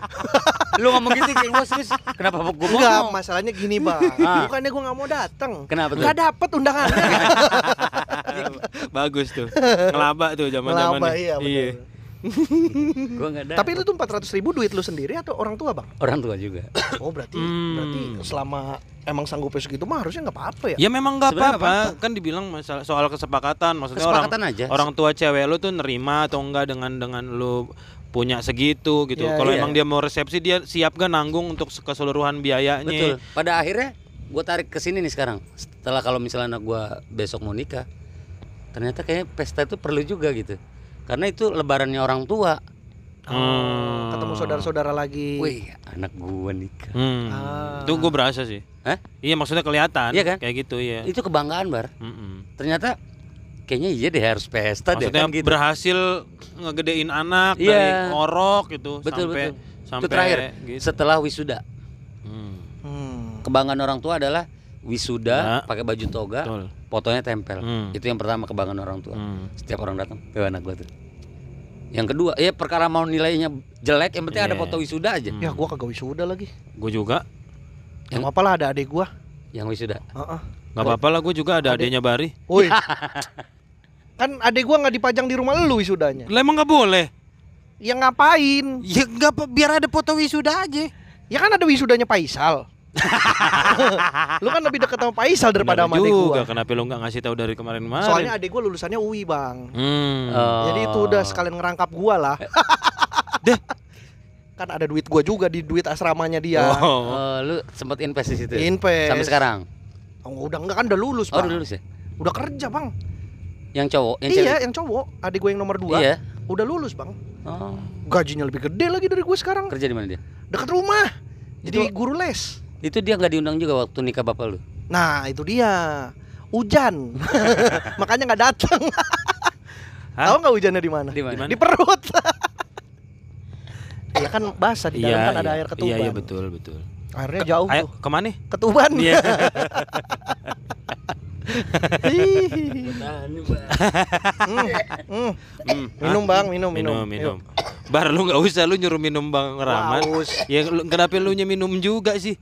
lu ngomong gitu kayak bos terus kenapa gue
Enggak,
bengong
masalahnya gini bang
Ah.
Bukannya gue gak mau datang
kenapa tuh
Gak dapet undangannya
Bagus tuh. Ngelaba tuh zaman-zaman. ya.
Ngelaba, iya, bener.
gue nggak datang
Tapi itu tuh 400 ribu duit lu sendiri atau orang tua bang?
orang tua juga
Oh berarti
Hmm.
berarti selama emang sanggupnya segitu mah harusnya nggak apa-apa ya?
Ya memang nggak
Sebenarnya
apa-apa, kan dibilang masalah soal kesepakatan, maksudnya
kesepakatan iya. aja
orang orang tua cewek lu tuh nerima atau enggak dengan dengan lu punya segitu gitu.
Iya,
Kalau
iya.
emang dia mau resepsi dia siap gak nanggung untuk se- keseluruhan biayanya.
betul pada akhirnya gue tarik ke sini nih sekarang setelah kalau misalnya anak gue besok mau nikah ternyata kayaknya pesta itu perlu juga gitu karena itu lebarannya orang tua
Oh, Ketemu saudara-saudara lagi.
wih anak gue nikah
Hmm.
Ah.
Itu gue berasa sih.
Hah?
Iya maksudnya kelihatan
Iya kan?
kayak gitu ya.
itu kebanggaan bar
Mm-mm.
ternyata kayaknya iya deh harus pesta deh
Maksudnya
kan gitu.
berhasil ngegedein anak
Iya.
dari orok gitu
Betul,
sampai
betul.
sampai
Itu terakhir.
gitu.
Setelah wisuda,
Hmm.
Hmm.
kebanggaan orang tua adalah wisuda
Ya.
pakai baju toga,
Betul.
fotonya tempel.
Hmm.
Itu yang pertama kebanggaan orang tua.
Hmm.
Setiap orang datang, tuh anak gua tuh. Yang kedua, ya perkara mau nilainya jelek, yang penting ada
Iya.
foto wisuda aja.
Hmm.
Ya gua kagak wisuda lagi.
Gue juga
Yang apalah ada adik gua.
Yang wisuda.
Heeh.
nggak apa-apa lah gue juga ada adiknya Bari.
Woi. kan adik gua nggak dipajang di rumah lu wisudanya.
Lah emang nggak boleh?
Ya ngapain?
Ya nggak apa- biar ada foto wisuda aja.
Ya kan ada wisudanya Paisal. lu kan lebih deket sama Paisal daripada sama
Benar
adik
juga
gua.
kenapa lu nggak ngasih tahu dari kemarin-kemarin?
Soalnya adik gua lulusannya UI, Bang.
hmm.
Oh. Eh.
Jadi itu udah sekalian ngerangkap gua lah.
Deh.
kan ada duit gua juga di duit asramanya dia.
Oh.
Oh, lu sempet invest di situ. ya?
Invest.
Sampai sekarang.
Oh, udah enggak kan udah lulus,
Oh,
Bang.
udah lulus ya?
Udah kerja, Bang.
Yang cowok, yang
iya,
cewek.
yang cowok, adik gue yang nomor 2.
Iya.
Udah lulus, Bang.
Oh,
Gajinya lebih gede lagi dari gue sekarang.
kerja di mana dia?
Deket rumah. Jadi
Itu-
guru les.
Itu dia nggak diundang juga waktu nikah bapak lu.
Nah, itu dia. Hujan. Makanya nggak datang.
Hah?
Tahu nggak hujannya di mana?
Di mana?
Di perut. Iya kan basah di dalam kan
iya,
ada air ketuban.
Iya, iya betul, betul.
Airnya jauh
Ayo,
tuh.
kemana? nih?
Ketuban.
Iya.
Hihihi.
Nah,
Hmm, hmm.
Hmm.
Minum,
Ah,
Bang, minum,
minum,
minum.
minum. Bar lu nggak usah lu nyuruh minum Bang Rahmat.
Haus.
Ya lu- kenapa lu minum juga sih?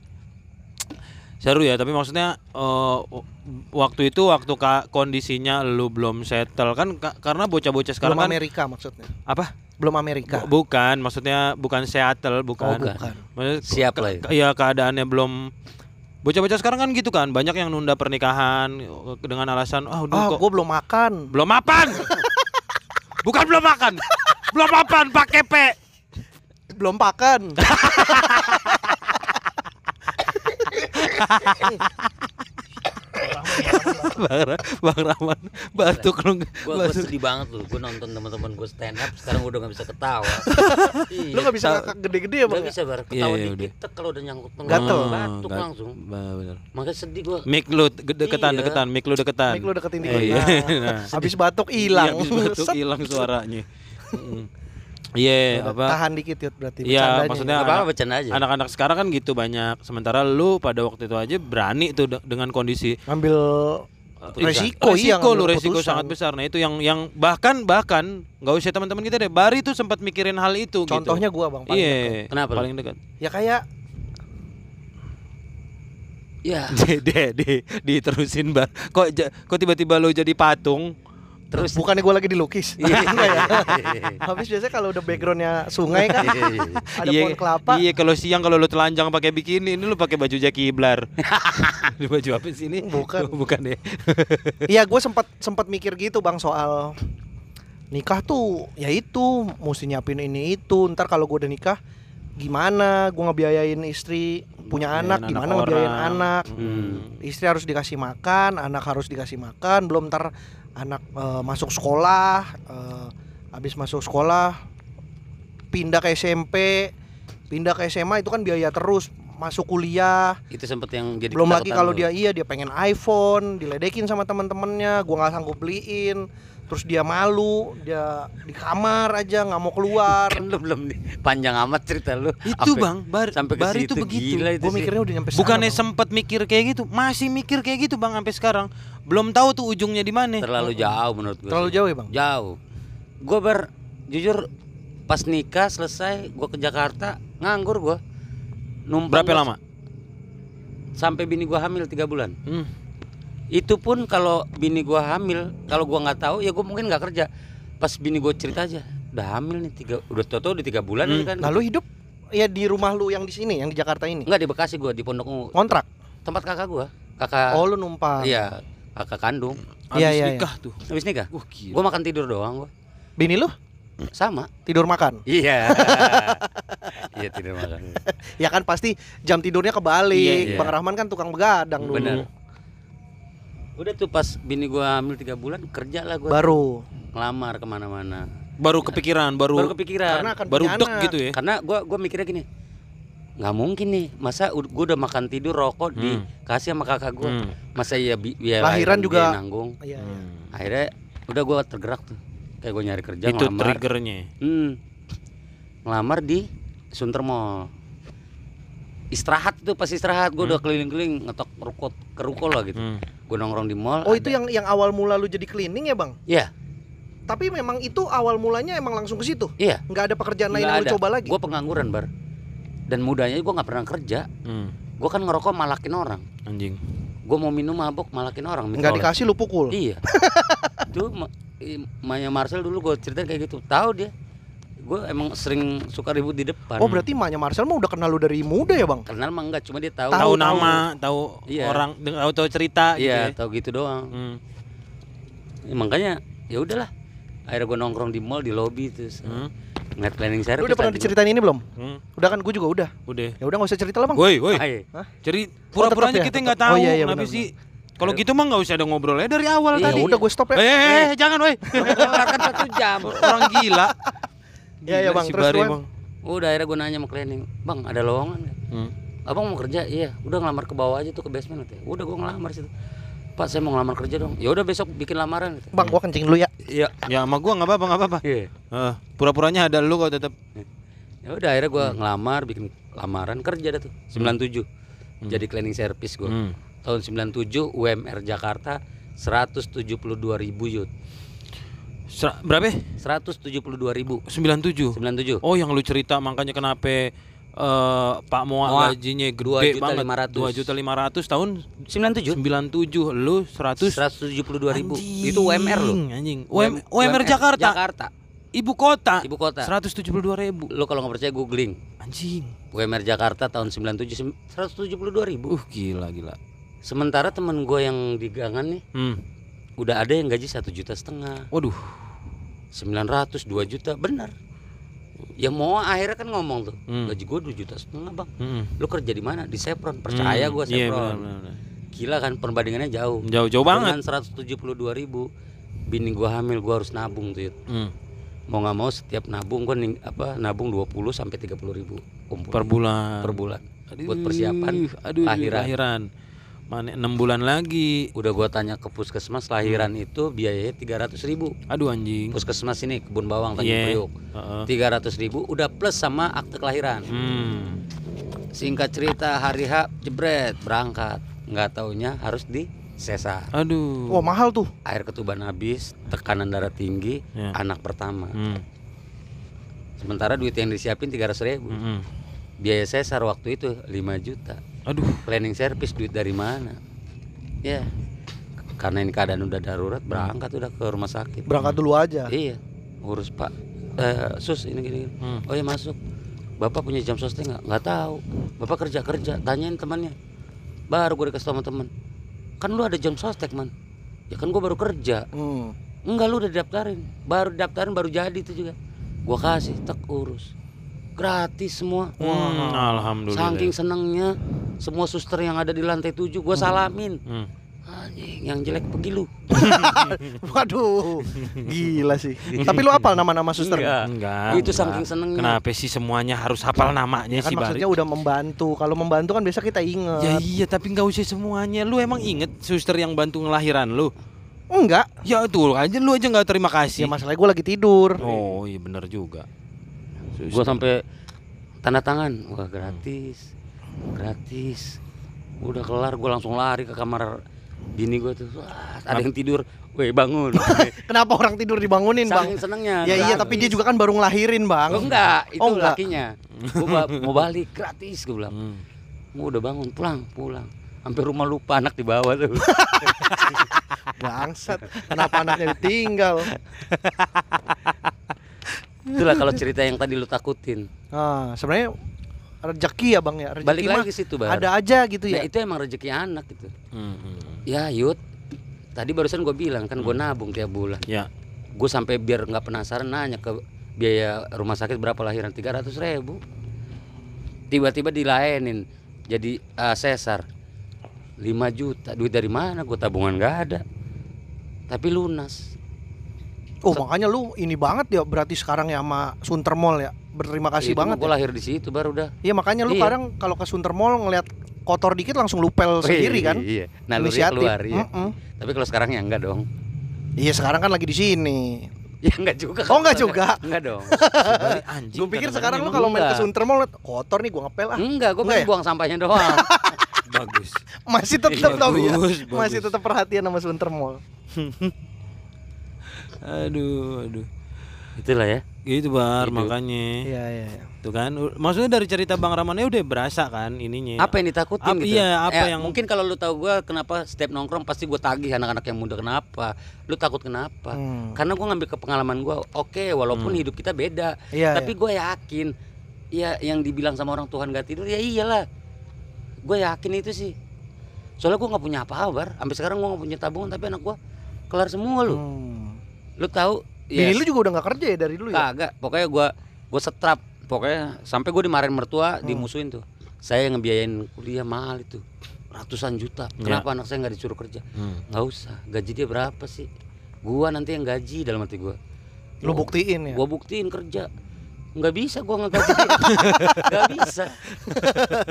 Seru ya, tapi maksudnya eh, w- waktu itu waktu ka- kondisinya lu belum settle kan ka- karena bocah-bocah
Belum
sekarang kan
Amerika maksudnya.
apa?
Belum Amerika.
Bu- Bukan, maksudnya bukan Seattle, bukan.
Oh, bukan.
Maksudnya ke-
Siap
ke-
lah ya.
ke- Iya, keadaannya belum bocah-bocah sekarang kan gitu kan, banyak yang nunda pernikahan eh, dengan alasan ah udah
Ah,
kok
gue belum makan.
belum mapan. bukan belum makan. belum mapan pakai P.
Belum makan.
Iya. Bang, Ra- Bang Rahman batuk lu.
Gua, gua sedih banget loh, gua nonton teman-teman gua stand up sekarang gua udah nggak bisa ketawa. Iya,
Lu nggak bisa
tahu.
ngakak gede-gede ya,
Nggak
Bang? ya?
bisa bar ketawa
Iya, iya,
dikit tek kalau udah Nah. nyangkut tenggorokan,
Gatel.
batuk langsung.
Ah, Bener.
Makanya sedih gua.
Mik lu deketan
Iya.
deketan, mik lu deketan.
Mik lu deketin
Oh,
dikit.
iya.
Nah,
Nah.
habis batuk hilang.
Iya, habis batuk
Set.
hilang suaranya. Mm. Iya,
Udah,
apa?
Tahan dikit ya berarti
Iya,
bercandanya.
maksudnya
Nggak
anak-
apa-apa bercanda aja.
Anak-anak sekarang kan gitu banyak. Sementara lu pada waktu itu aja berani tuh de- dengan kondisi
ngambil
Oh,
Oh,
resiko, iya,
resiko lu
ngambil
resiko
keputusan.
sangat besar. Nah, itu yang yang bahkan bahkan nggak usah teman-teman kita deh. Bari tuh sempat mikirin hal itu gitu.
Contohnya gua Bang paling dekat.
Iya.
Kenapa lu?
Paling dekat.
Ya kayak
Iya.
Dede, de, diterusin bar. Kok ja- kok tiba-tiba lu jadi patung?
Terus
bukannya gua lagi dilukis.
Iya.
Enggak ya. Habis biasanya kalau udah backgroundnya sungai kan ada
Iya,
pohon kelapa.
Iya, kalau siang kalau lu telanjang pakai bikini, ini lu pakai baju Jackie Iblar. Ini baju apa sih ini?
Hmm, Bukan.
Bukan ya.
Iya, gue sempat sempat mikir gitu bang soal nikah tuh, ya itu mesti nyiapin ini itu. Ntar kalau gue udah nikah, gimana gue ngebiayain istri punya
Ngebiayain
anak,
anak
gimana
orang.
ngebiayain anak.
Hmm.
Istri harus dikasih makan, anak harus dikasih makan. Belum ntar anak eh, masuk sekolah, eh, habis masuk sekolah pindah ke SMP, pindah ke SMA itu kan biaya terus. Masuk kuliah,
itu sempet yang jadi
belum lagi
ketakutan
kalau
lu.
dia iya dia pengen iPhone diledekin sama teman-temannya gua nggak sanggup beliin terus dia malu dia di kamar aja nggak mau keluar
kan lu belum nih, panjang amat cerita lu.
Itu,
Sampai-
Bang. Bar,
sampai ke
Bari
situ
itu begitu.
gila itu.
gue
sih.
mikirnya udah nyampe sana,
Bukannya
Bang.
sempat mikir kayak gitu, masih mikir kayak gitu Bang sampai sekarang. Belum tahu tuh ujungnya di mana.
terlalu jauh menurut gua.
terlalu
sih.
jauh ya bang
Jauh. gue ber jujur pas nikah selesai gue ke Jakarta nganggur gue numpang
Berapa
gua
lama?
sampai bini gue hamil tiga bulan
Hmm.
itu pun kalau bini gue hamil kalau gue nggak tahu ya gue mungkin nggak kerja pas bini gue cerita aja udah hamil nih tiga udah tau udah tiga bulan
Hmm.
ini kan
Nah, lu hidup ya di rumah lu yang di sini, yang di Jakarta ini.
nggak di Bekasi gue di Pondok Ungu
Kontrak.
tempat kakak gue kakak
Oh, lu numpang.
Ah. iya kakak kandung
Habis
Iya, iya, iya.
nikah tuh.
habis nikah
Wah, gila.
gue makan tidur doang gue
Bini lu
sama
tidur makan.
iya iya tidur makan
Ya kan pasti jam tidurnya kebalik.
Iya, iya.
Bang Rahman kan tukang begadang dulu.
Bener. Udah tuh pas bini gua hamil tiga bulan kerja lah gua
Baru
ngelamar kemana-mana.
Baru kepikiran, baru
Baru kepikiran
karena
karena,
akan
baru
Kan punya
dek
anak.
gitu ya.
gua gua mikirnya gini nggak mungkin nih masa ud- gua udah makan tidur rokok
Hmm.
dikasih sama kakak gua
Hmm.
masa iya bi- biaya
Lahiran
dia
juga.
nanggung
Iya, iya.
akhirnya udah gua tergerak tuh kayak gua nyari kerja
Itu
ngelamar
triggernya.
Hmm. ngelamar di Sunter Mall istirahat tuh pas istirahat gua udah keliling-keliling ngetok ruko ke ruko lah gitu
Hmm.
gua nongkrong di mall
Oh,
ada-
itu yang yang awal mula lu jadi cleaning ya, Bang?
Iya.
Tapi memang itu awal mulanya emang langsung ke situ.
iya
Nggak ada pekerjaan lain
Nggak
yang lu
ada.
coba lagi.
gue pengangguran bar dan mudanya gue nggak pernah kerja
Hmm.
gue kan ngerokok malakin orang
Anjing.
gue mau minum mabok malakin orang minta
Nggak
oleh-
dikasih lu pukul.
iya itu ma- i- Maya Marcel dulu gue cerita kayak gitu tahu dia gue emang sering suka ribut di depan
Oh, berarti Manya Marcel mah udah kenal lu dari muda ya, Bang?
kenal mah enggak cuma dia tahu
Tahu,
Tahu nama, tahu
Iya.
orang, deng- tahu tahu cerita gitu.
iya
ya.
tahu gitu doang
Hmm.
Ya, makanya ya udahlah akhirnya gue nongkrong di mall di lobby terus eh,
Hmm.
ngeliat planning saya
Lu udah pernah diceritain ini belum?
Hmm.
Udah kan gue juga udah.
Udah.
Ya udah nggak usah cerita lah, Bang.
Woi, woi.
Ah, iya.
Hah?
Jadi
Oh,
pura-puranya
tetap ya,
kita
tetap.
nggak tahu.
Oh, iya, iya,
Kenapa
benar,
sih? Kalau gitu mah nggak usah ada ngobrolnya dari awal
Ya
Iya,
tadi.
udah gue stop
Eh,
ya.
eh, eh, jangan, woi.
makan satu jam
orang gila.
kan Iya, iya,
Gila
Bang.
si
Terus,
Bari,
Wan.
Bang.
udah akhirnya gue nanya sama planning bang ada lowongan nggak?"
Hmm.
Abang mau kerja? Iya, udah ngelamar ke bawah aja tuh ke basement katanya. Udah gua ngelamar situ. Pak, saya mau ngelamar kerja dong. Ya udah besok bikin lamaran gitu.
Bang, gua kencing dulu ya.
Iya.
Ya sama gua nggak apa-apa, nggak apa-apa.
Iya.
Eh, pura-puranya ada lu kok tetap.
Ya udah akhirnya
Hmm.
gua ngelamar, bikin lamaran kerja dah tuh. 97.
Hmm.
Jadi cleaning service gua.
Hmm.
Tahun 97 UMR Jakarta 172.000 ribu yud.
Sera- Berapa?
172.000 ribu.
97.
97.
Oh, yang lu cerita makanya kenapa eh Pak Moa,
Moa,
gajinya
dua
gede
juta
banget.
lima ratus.
2 juta 500 tahun
97.
97 lu 100
172.000 ribu. Itu UMR loh.
Anjing, Anjing. UM, UMR Jakarta. Ah,
Jakarta.
Ibu kota.
Ibu kota.
172 ribu.
Lo kalau nggak percaya googling
Anjing.
UMR Jakarta tahun 97 172.000 ribu.
Uh, gila gila.
Sementara temen gue yang di gangan nih
Hmm.
udah ada yang gaji satu juta setengah,
Waduh.
900, 2 juta, benar. Ya mau akhirnya kan ngomong tuh,
Hmm.
gaji gue 2 juta setengah bang.
Hmm.
Lu kerja di mana? Di Chevron, percaya
Hmm.
gue
Iya,
Chevron.
benar, benar, benar.
Gila kan perbandingannya jauh.
Jauh-jauh banget.
Dengan 172 ribu, bini gue hamil gue harus nabung tuh. Yud.
Hmm.
Mau nggak mau setiap nabung gue ning, apa nabung 20 sampai 30 ribu kumpul
Per bulan.
per bulan.
Aduh,
buat persiapan
aduh,
lahiran.
lahiran. Mana 6 bulan lagi.
Udah gue tanya ke puskesmas lahiran
Hmm.
itu biayanya 300 ribu.
Aduh anjing.
Puskesmas ini kebun bawang Tanjung
Hmm. Iya.
Priok.
Heeh.
tiga ratus ribu udah plus sama akte kelahiran
Hmm.
singkat cerita hari H jebret berangkat nggak taunya harus di sesar
Aduh.
Wah, mahal tuh.
air ketuban habis tekanan darah tinggi
Ya.
anak pertama
Hmm.
sementara duit yang disiapin tiga ratus ribu
Mm-mm.
biaya sesar waktu itu 5 juta
Aduh.
planning service duit dari mana ya karena ini keadaan udah darurat berangkat udah ke rumah sakit
Berangkat dulu aja.
iya urus pak eh, sus ini gini, gini.
Hmm.
Oh ya masuk. Bapak punya jam sosnya nggak? Nggak tahu. Bapak kerja kerja. Tanyain temannya. Baru gue dikasih tau sama teman. Kan lu ada jam sostek man. Ya kan gue baru kerja.
Hmm.
Enggak lu udah daftarin. Baru daftarin baru jadi itu juga. Gue kasih tek urus. Gratis semua.
Hmm, Alhamdulillah.
Saking senengnya semua suster yang ada di lantai 7 gue salamin.
Hmm.
Anjing yang jelek pergi lu.
Waduh. Gila sih. Tapi lu apal nama-nama suster?
Enggak.
Ah,
Enggak.
Oh, Itu
enggak.
saking senengnya.
Kenapa sih semuanya harus hafal
Iya,
namanya
Kan
sih Bari?
maksudnya udah membantu. Kalau membantu kan biasa kita
Ya
inget.
iya tapi nggak usah semuanya. Lu emang inget suster yang bantu ngelahiran lu?
Enggak.
Ya itu aja lu aja nggak terima
Ya
kasih.
masalahnya gue lagi tidur.
oh iya bener juga.
gue sampai tanda tangan wah gratis gratis udah kelar gue langsung lari ke kamar bini gua tuh wah, ada yang tidur weh bangun
Kenapa orang tidur dibangunin, Bang?
saking senengnya
Ya iya,
gratis.
tapi dia juga kan baru ngelahirin,
Gua
Bang.
enggak itu
Oh, enggak.
lakinya gua ba- mau balik gratis gua bilang
Hmm.
gua udah bangun pulang pulang hampir rumah lupa anak di bawah tuh
Bangsat. Kenapa anaknya ditinggal?
itulah kalau cerita yang tadi lu takutin
Nah, sebenarnya rezeki ya, Bang ya. Rezeki
balik
mah
lagi ke situ Bar.
ada aja gitu ya.
Nah, itu emang rezeki anak gitu
Hmm, hmm.
ya Yud tadi barusan gue bilang kan gue nabung tiap bulan
Ya.
gue sampai biar nggak penasaran nanya ke biaya rumah sakit berapa lahiran 300 ribu tiba-tiba dilayanin jadi eh, sesar 5 juta duit dari mana gue tabungan nggak ada tapi lunas
Oh, makanya lu ini banget ya berarti sekarang ya sama Sunter Mall ya. Berterima kasih banget. ya?
gue lahir di situ baru udah
Iya, makanya lu
Iya.
kadang kalau ke Sunter Mall ngelihat kotor dikit langsung lupel sendiri kan.
iya nah lu
Inisiatif. Hmm.
keluar iya.
Mm-mm.
tapi kalau sekarang ya enggak dong
Iya, sekarang kan lagi di sini.
ya enggak juga
Oh, enggak juga.
enggak dong
Sebalik anjing.
Gue pikir sekarang lu
kadang-kadang
kalau main ke
enggak.
Sunter Mall liat, kotor nih gua ngepel ah.
enggak gue
Enggak
pengen
ya?
buang sampahnya doang
emang bagus.
Masih tetap
Iya,
tapi ya.
bagus,
Masih
bagus.
tetap perhatian sama Sunter Mall.
Aduh, aduh.
itulah ya
Gitu bar
Gitu.
makanya.
Iya, iya. iya.
Tuh kan. U- Maksudnya dari cerita Bang Ramane udah berasa kan ininya.
ya?
apa yang ditakutin
Apa-
gitu
iya, apa
Eh,
yang-
mungkin kalau lu tahu gua kenapa setiap nongkrong pasti gua tagih anak-anak yang muda kenapa lu takut kenapa
Hmm.
karena gua ngambil ke pengalaman gua oke walaupun hidup kita beda
Iya.
tapi gua yakin ya yang dibilang sama orang Tuhan gak tidur ya iyalah gue yakin itu sih soalnya gua nggak punya apa-apa bar sampai sekarang gua nggak punya tabungan tapi anak gua kelar semua
iya.
lu
Hmm.
lu tahu
Bini lu
ya,
juga udah gak kerja ya dari dulu ya?
Kagak, pokoknya gua gua setrap, pokoknya sampai gua dimarahin mertua, dimusuhin tuh. Saya yang ngebiayain kuliah mahal itu. Ratusan juta.
Ya.
Kenapa anak saya nggak disuruh kerja?
Hmm.
nggak usah. Gaji dia berapa sih? Gua nanti yang gaji dalam hati gua.
Lu buktiin ya.
Gua buktiin kerja. nggak bisa gua ngegaji. dia. nggak bisa.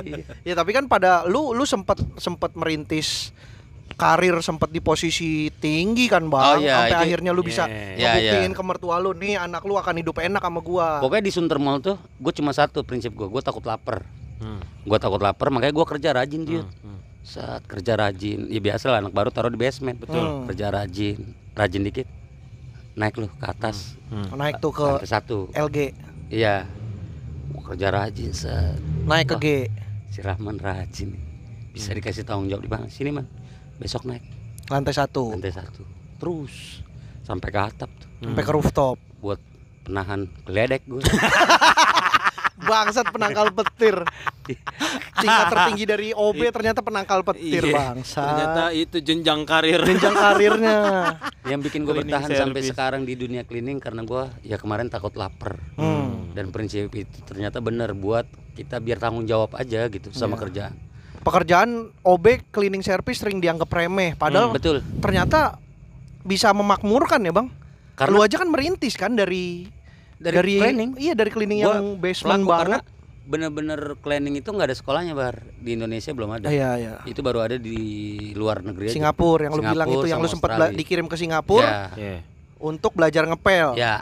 Iya.
Ya tapi kan pada lu lu sempet sempet merintis karir sempet di posisi tinggi kan bang
Oh, iya,
sampai
itu-
akhirnya lu bisa
iya,
ngebuktiin ke mertua lu nih anak lu akan hidup enak sama gua
Pokoknya di Sunter Mall tuh gua cuma satu prinsip gua, gua takut lapar.
Hmm.
Gua takut lapar, makanya gua kerja rajin dia.
hmm.
Saat kerja rajin, ya biasa lah anak baru taruh di basement. Hmm.
Betul.
Kerja rajin, rajin dikit. Naik lu ke atas.
Hmm.
naik tuh ke
Lantai satu.
LG
Iya. Wah, kerja rajin set.
naik ke G
Si Rahman rajin. nih.
Hmm.
Bisa dikasih tanggung jawab di mana? Sini, Man. Besok naik
lantai satu
lantai satu. Terus sampai ke atap tuh
sampai ke rooftop
buat penahan geledek gue.
bangsat penangkal petir tingkat tertinggi dari OB ternyata penangkal petir
Iya. Ternyata
bangsat
itu jenjang karir.
jenjang karirnya
Yang bikin
Oh,
gue
Cleaning
bertahan sampai
service.
sekarang di dunia cleaning karena gua ya kemarin takut lapar.
hmm.
Dan prinsip itu ternyata bener buat kita biar tanggung jawab aja gitu sama
Iya.
kerjaan.
pekerjaan OB cleaning service sering dianggap remeh padahal
Hmm, Betul.
ternyata bisa memakmurkan ya bang.
Karena-
lu aja kan merintis kan dari
Dari cleaning.
Iya dari cleaning
Gua
yang basement
pelaku karena
banget.
bener-bener cleaning itu nggak ada sekolahnya bar di Indonesia belum ada
Iya iya.
itu baru ada di luar negeri aja.
Singapura yang lu bilang
Singapura
itu yang
sama
lu sempat
Australia.
bela- dikirim ke Singapura
Iya.
untuk belajar
ya,
ngepel.
ya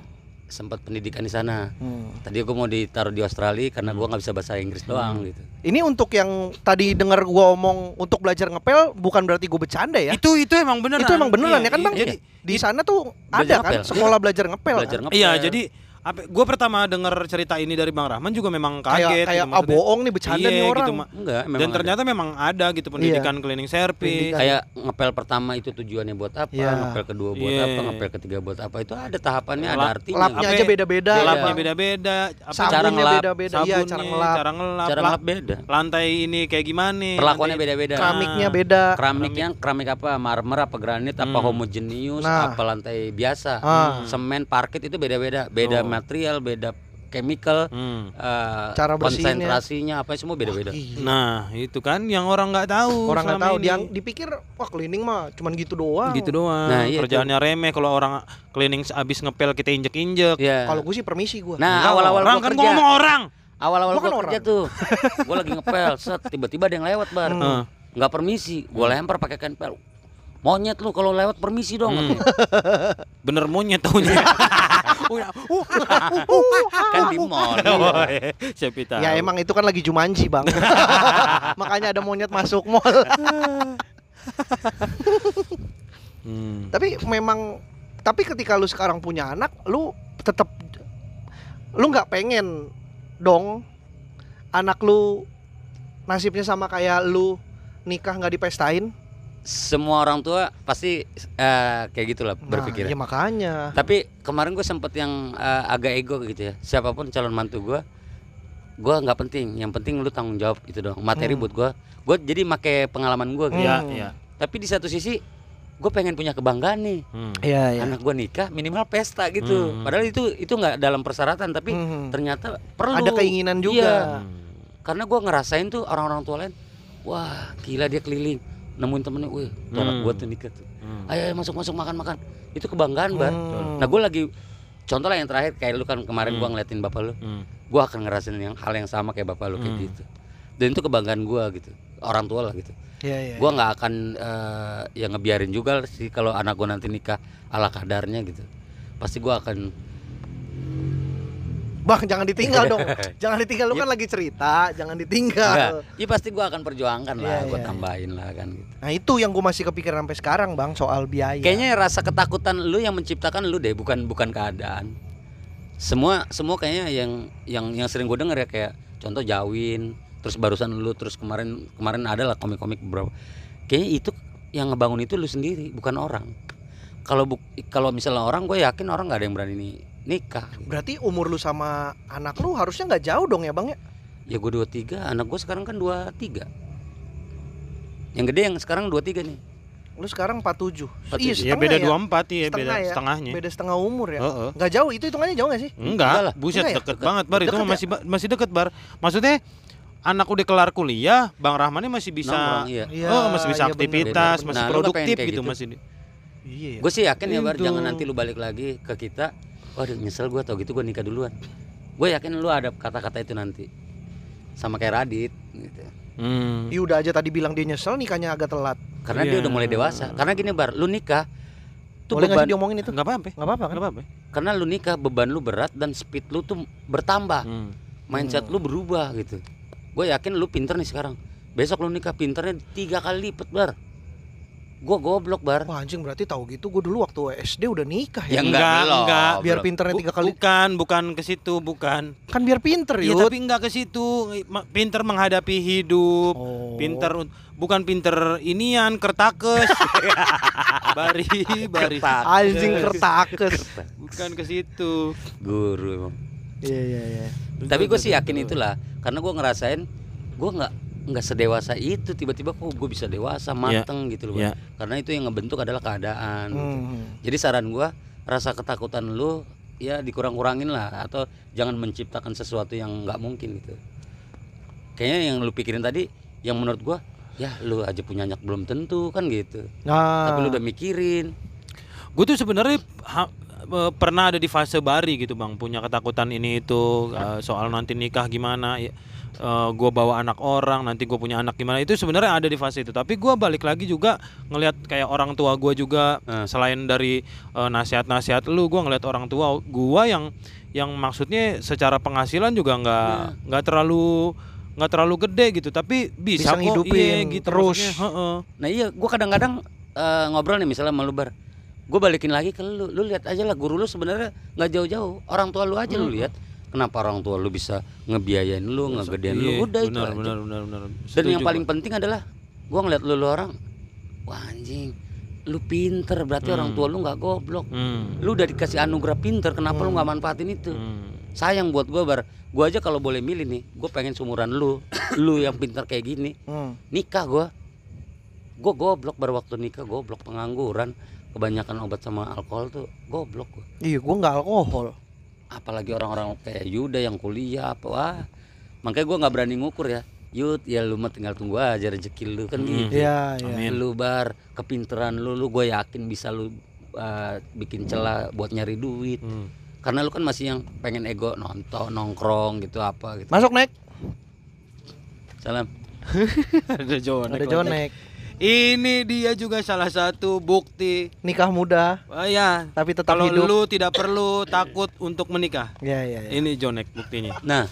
sempat pendidikan di sana
Hmm.
tadi gua mau ditaruh di Australia karena gua nggak bisa bahasa Inggris doang gitu
Ini untuk yang tadi denger gua omong untuk belajar ngepel bukan berarti gua bercanda ya.
Itu itu emang beneran.
Itu emang beneran
Iya,
ya kan bang?
iya.
Jadi di sana tuh ada
Belajar
kan
ngepel,
sekolah belajar ngepel.
belajar
kan?
ngepel
Iya, jadi apa gue pertama dengar cerita ini dari Bang Rahman juga memang
Kayak
kaget
kayak
gitu
ah
maksudnya.
bohong nih bercanda
Iya,
nih orang. Iya.
gitu, Ma.
enggak memang
Dan
ada.
ternyata memang ada gitu pendidikan cleaning service.
Pendidikan.
kayak ngepel pertama itu tujuannya buat apa
Iya.
ngepel kedua buat
Iya.
apa ngepel ketiga buat apa itu ada tahapannya ada
Lap-
artinya
Lapnya
Apa-
aja beda-beda. ya,
Gelapnya
Bang.
beda-beda, apa
Cara
Sabunnya
ngelap,
beda-beda. Iya
sabunnya,
cara ngelap.
cara ngelap,
cara
lap- Iya,
ngelap beda
lantai ini kayak gimana?
perlakuannya
lantai-
beda-beda
keramiknya beda.
keramiknya keramik apa marmer apa granit apa homogenius
Hmm. Nah.
apa lantai biasa
Ah. Oh.
semen parkit itu beda-beda beda material beda chemical
Hmm.
eh,
Cara bersihinnya.
konsentrasinya apa semua beda-beda
Nah, itu kan yang orang nggak tahu.
orang nggak
selama
tahu
ini.
dia dipikir wah cleaning mah cuman gitu doang
gitu doang.
Nah, iya,
Kerjaannya remeh kalau orang cleaning abis ngepel kita
Iya.
injek-injek.
ya
kalau gue sih permisi gue
nah
Enggak,
awal-awal
orang
gua
kan gua
kerja
ngomong orang.
awal-awal
Gua kan
gua kerja tuh gua lagi ngepel set tiba-tiba ada yang lewat bar
Hmm.
nggak permisi
Hmm.
gua lempar pakai kain pel monyet lu kalau lewat permisi dong
Hmm.
Bener monyet tahunya.
Uh,
kan di mall
Oh,
Oh.
iya. Siapa tahu.
ya emang itu kan lagi jumanji bang makanya ada monyet masuk mall
Hmm.
Tapi memang tapi ketika lu sekarang punya anak, lu tetap lu nggak pengen dong anak lu nasibnya sama kayak lu nikah nggak dipestain.
Semua orang tua pasti eh, kayak gitulah
Nah,
berpikir.
ya makanya.
Tapi kemarin gue sempet yang eh, agak ego gitu ya. Siapapun calon mantu gue, gue nggak penting. Yang penting lu tanggung jawab itu dong. Materi
Hmm.
buat gue, gue jadi make pengalaman gue. Gitu.
Iya,
Hmm.
iya.
Tapi di satu sisi, gue pengen punya kebanggaan nih.
Hmm.
Iya,
Anak gue nikah minimal pesta gitu.
Hmm.
Padahal itu itu nggak dalam persyaratan, tapi
Mhm.
ternyata perlu.
Ada keinginan
Iya.
hmm,
juga.
karena gue ngerasain tuh orang-orang tua lain wah gila dia keliling nemuin temennya wih tuh anak
Hmm.
gue tuh nikah tuh
Hmm.
ayo, ayo, masuk masuk makan makan itu kebanggaan bar
Hmm.
nah gue lagi contoh lah yang terakhir kayak lu kan
Hmm.
kemarin gua ngeliatin bapak lu
Hmm.
gue akan ngerasain yang hal yang sama kayak bapak lu kayak
Hmm.
gitu dan itu kebanggaan gue gitu orang tua lah gitu
Iya, iya.
gue nggak akan eh, ya ngebiarin juga sih kalau anak gue nanti nikah ala kadarnya gitu pasti gue akan
Bang, jangan ditinggal dong. jangan ditinggal lu kan lagi cerita, jangan
Iya. enggak
ditinggal.
ya pasti gue akan perjuangkan lah
Iya,
gue
iya, iya.
tambahin lah kan gitu
Nah, itu yang gue masih kepikiran sampai sekarang, Bang, soal biaya.
Kayaknya rasa ketakutan lu yang menciptakan lu deh, bukan bukan keadaan. Semua semua kayaknya yang yang yang sering gue denger ya kayak contoh Jawin, terus barusan lu terus kemarin kemarin ada lah komik-komik beberapa. Kayaknya itu yang ngebangun itu lu sendiri, bukan orang. Kalau buk- kalau misalnya orang, gue yakin orang nggak ada yang berani ni- nikah.
berarti umur lu sama anak lu harusnya nggak jauh dong ya, Bang ya?
Ya gue 23, anak gue sekarang kan 23 Yang gede yang sekarang 23 nih.
Lu sekarang 47.
47.
Iya,
Ya
setengah
beda
ya.
24 iya beda
Setengah ya.
setengahnya.
Beda setengah umur ya.
Heeh.
Nggak jauh, itu hitungannya jauh nggak sih?
Enggak
Enggak,
lah.
buset
Enggak ya?
deket
Deket.
banget bar itu
Deket
mah
ya?
masih ba- masih deket bar. Maksudnya anak udah kelar kuliah, Bang Rahman ini masih bisa
Nongkrong, iya.
Iya,
oh, masih bisa
iya bener,
aktivitas, masih
bener,
Nah, lu kepengen
produktif
kayak
gitu,
gitu.
masih. di-
Iya. ya.
Gue sih yakin ya Bar,
Itu.
jangan nanti lu balik lagi ke kita. Waduh nyesel gue tau gitu gue nikah duluan. Gue yakin lu ada kata-kata itu nanti. Sama kayak Radit gitu.
Hmm.
Ya udah aja tadi bilang dia nyesel nikahnya agak telat.
Karena dia
Iya.
udah mulai dewasa. Karena gini Bar, lu nikah tuh
Boleh nggak
beban
sih diomongin itu?
Enggak apa-apa.
Nggak apa-apa kan?
Enggak apa-apa.
karena lu nikah beban lu berat dan speed lu tuh bertambah.
Hmm.
Mindset lu berubah gitu. Gue yakin lu pinter nih sekarang. Besok lu nikah pinternya tiga kali lipat Bar. Gue goblok Bar.
Wah anjing berarti tahu gitu gue dulu waktu SD udah nikah
Ya
ya.
enggak,
enggak, belum,
enggak.
biar
belum.
pinternya tiga
Bu-
kali.
Bukan, bukan ke situ, bukan.
Kan biar pinter
Iya,
ya.
tapi enggak ke situ. Ma- Pinter menghadapi hidup.
Oh.
Pinter un- bukan pinter inian kertakes. bari, bari.
Anjing kertakes.
Bukan ke situ.
Guru emang.
Iya iya iya.
tapi gue sih yakin itulah karena gue ngerasain gue nggak nggak sedewasa itu tiba-tiba kok gue bisa dewasa mateng gitu loh Bang.
ya.
karena itu yang ngebentuk adalah keadaan gitu.
Hmm.
jadi saran gue rasa ketakutan lu ya dikurang-kurangin lah atau jangan menciptakan sesuatu yang nggak mungkin gitu kayaknya yang lu pikirin tadi yang menurut gue ya lu aja punya anak belum tentu kan gitu
Nah,
tapi lu udah mikirin
Gue tuh sebenarnya ha- eh, pernah ada di fase bari gitu bang, punya ketakutan ini itu eh, soal nanti nikah gimana, ya, eh, gue bawa anak orang, nanti gue punya anak gimana itu sebenarnya ada di fase itu. Tapi gue balik lagi juga ngelihat kayak orang tua gue juga
Ah.
Eh.
selain dari eh, nasihat-nasihat lu, gue ngelihat orang tua gue yang yang maksudnya secara penghasilan juga nggak
Iya.
nggak terlalu nggak terlalu gede gitu, tapi bisa,
Bisa
kok,
ngidupin
iya, gitu,
terus.
maksudnya, heeh.
Nah iya, gua kadang-kadang eh, ngobrol nih misalnya sama lu bar, gue balikin lagi ke lu, lu lihat aja lah guru lu sebenarnya nggak jauh-jauh, orang tua lu aja
Hmm.
lu lihat, kenapa orang tua lu bisa ngebiayain lu, ngegedein
Iya,
lu, udah itu
benar,
aja.
benar, benar, benar.
Dan yang
Setuju,
paling
Bang.
penting adalah gua ngeliat lu, lu orang, wah anjing, lu pinter berarti orang tua lu nggak goblok,
Hmm.
lu udah dikasih anugerah pinter, kenapa lu nggak manfaatin itu?
Hmm.
Sayang buat gua bar, gua aja kalau boleh milih nih, gue pengen sumuran lu, lu yang pinter kayak gini,
hmm.
nikah gua gua goblok baru waktu nikah goblok pengangguran kebanyakan obat sama alkohol tuh goblok gua
Iya, gua nggak alkohol.
apalagi orang-orang kayak Yuda yang kuliah apa wah makanya gua nggak berani ngukur ya Yud ya lu mah tinggal tunggu aja rezeki lu kan
Hmm.
gitu
Iya, iya.
Amin.
lu bar kepinteran lu lu gue yakin bisa lu uh, bikin celah buat nyari duit
Hmm.
karena lu kan masih yang pengen ego nonton nongkrong gitu apa gitu
Masuk naik.
salam
Ada Jonek.
Ada
lagi.
jonek.
Ini dia juga salah satu bukti.
Nikah muda
Ah, ya,
tapi tetap
kalau
hidup. Iya,
lu Iya. tidak perlu takut untuk menikah.
Ya, ya, ya.
Ini Jonek buktinya.
nah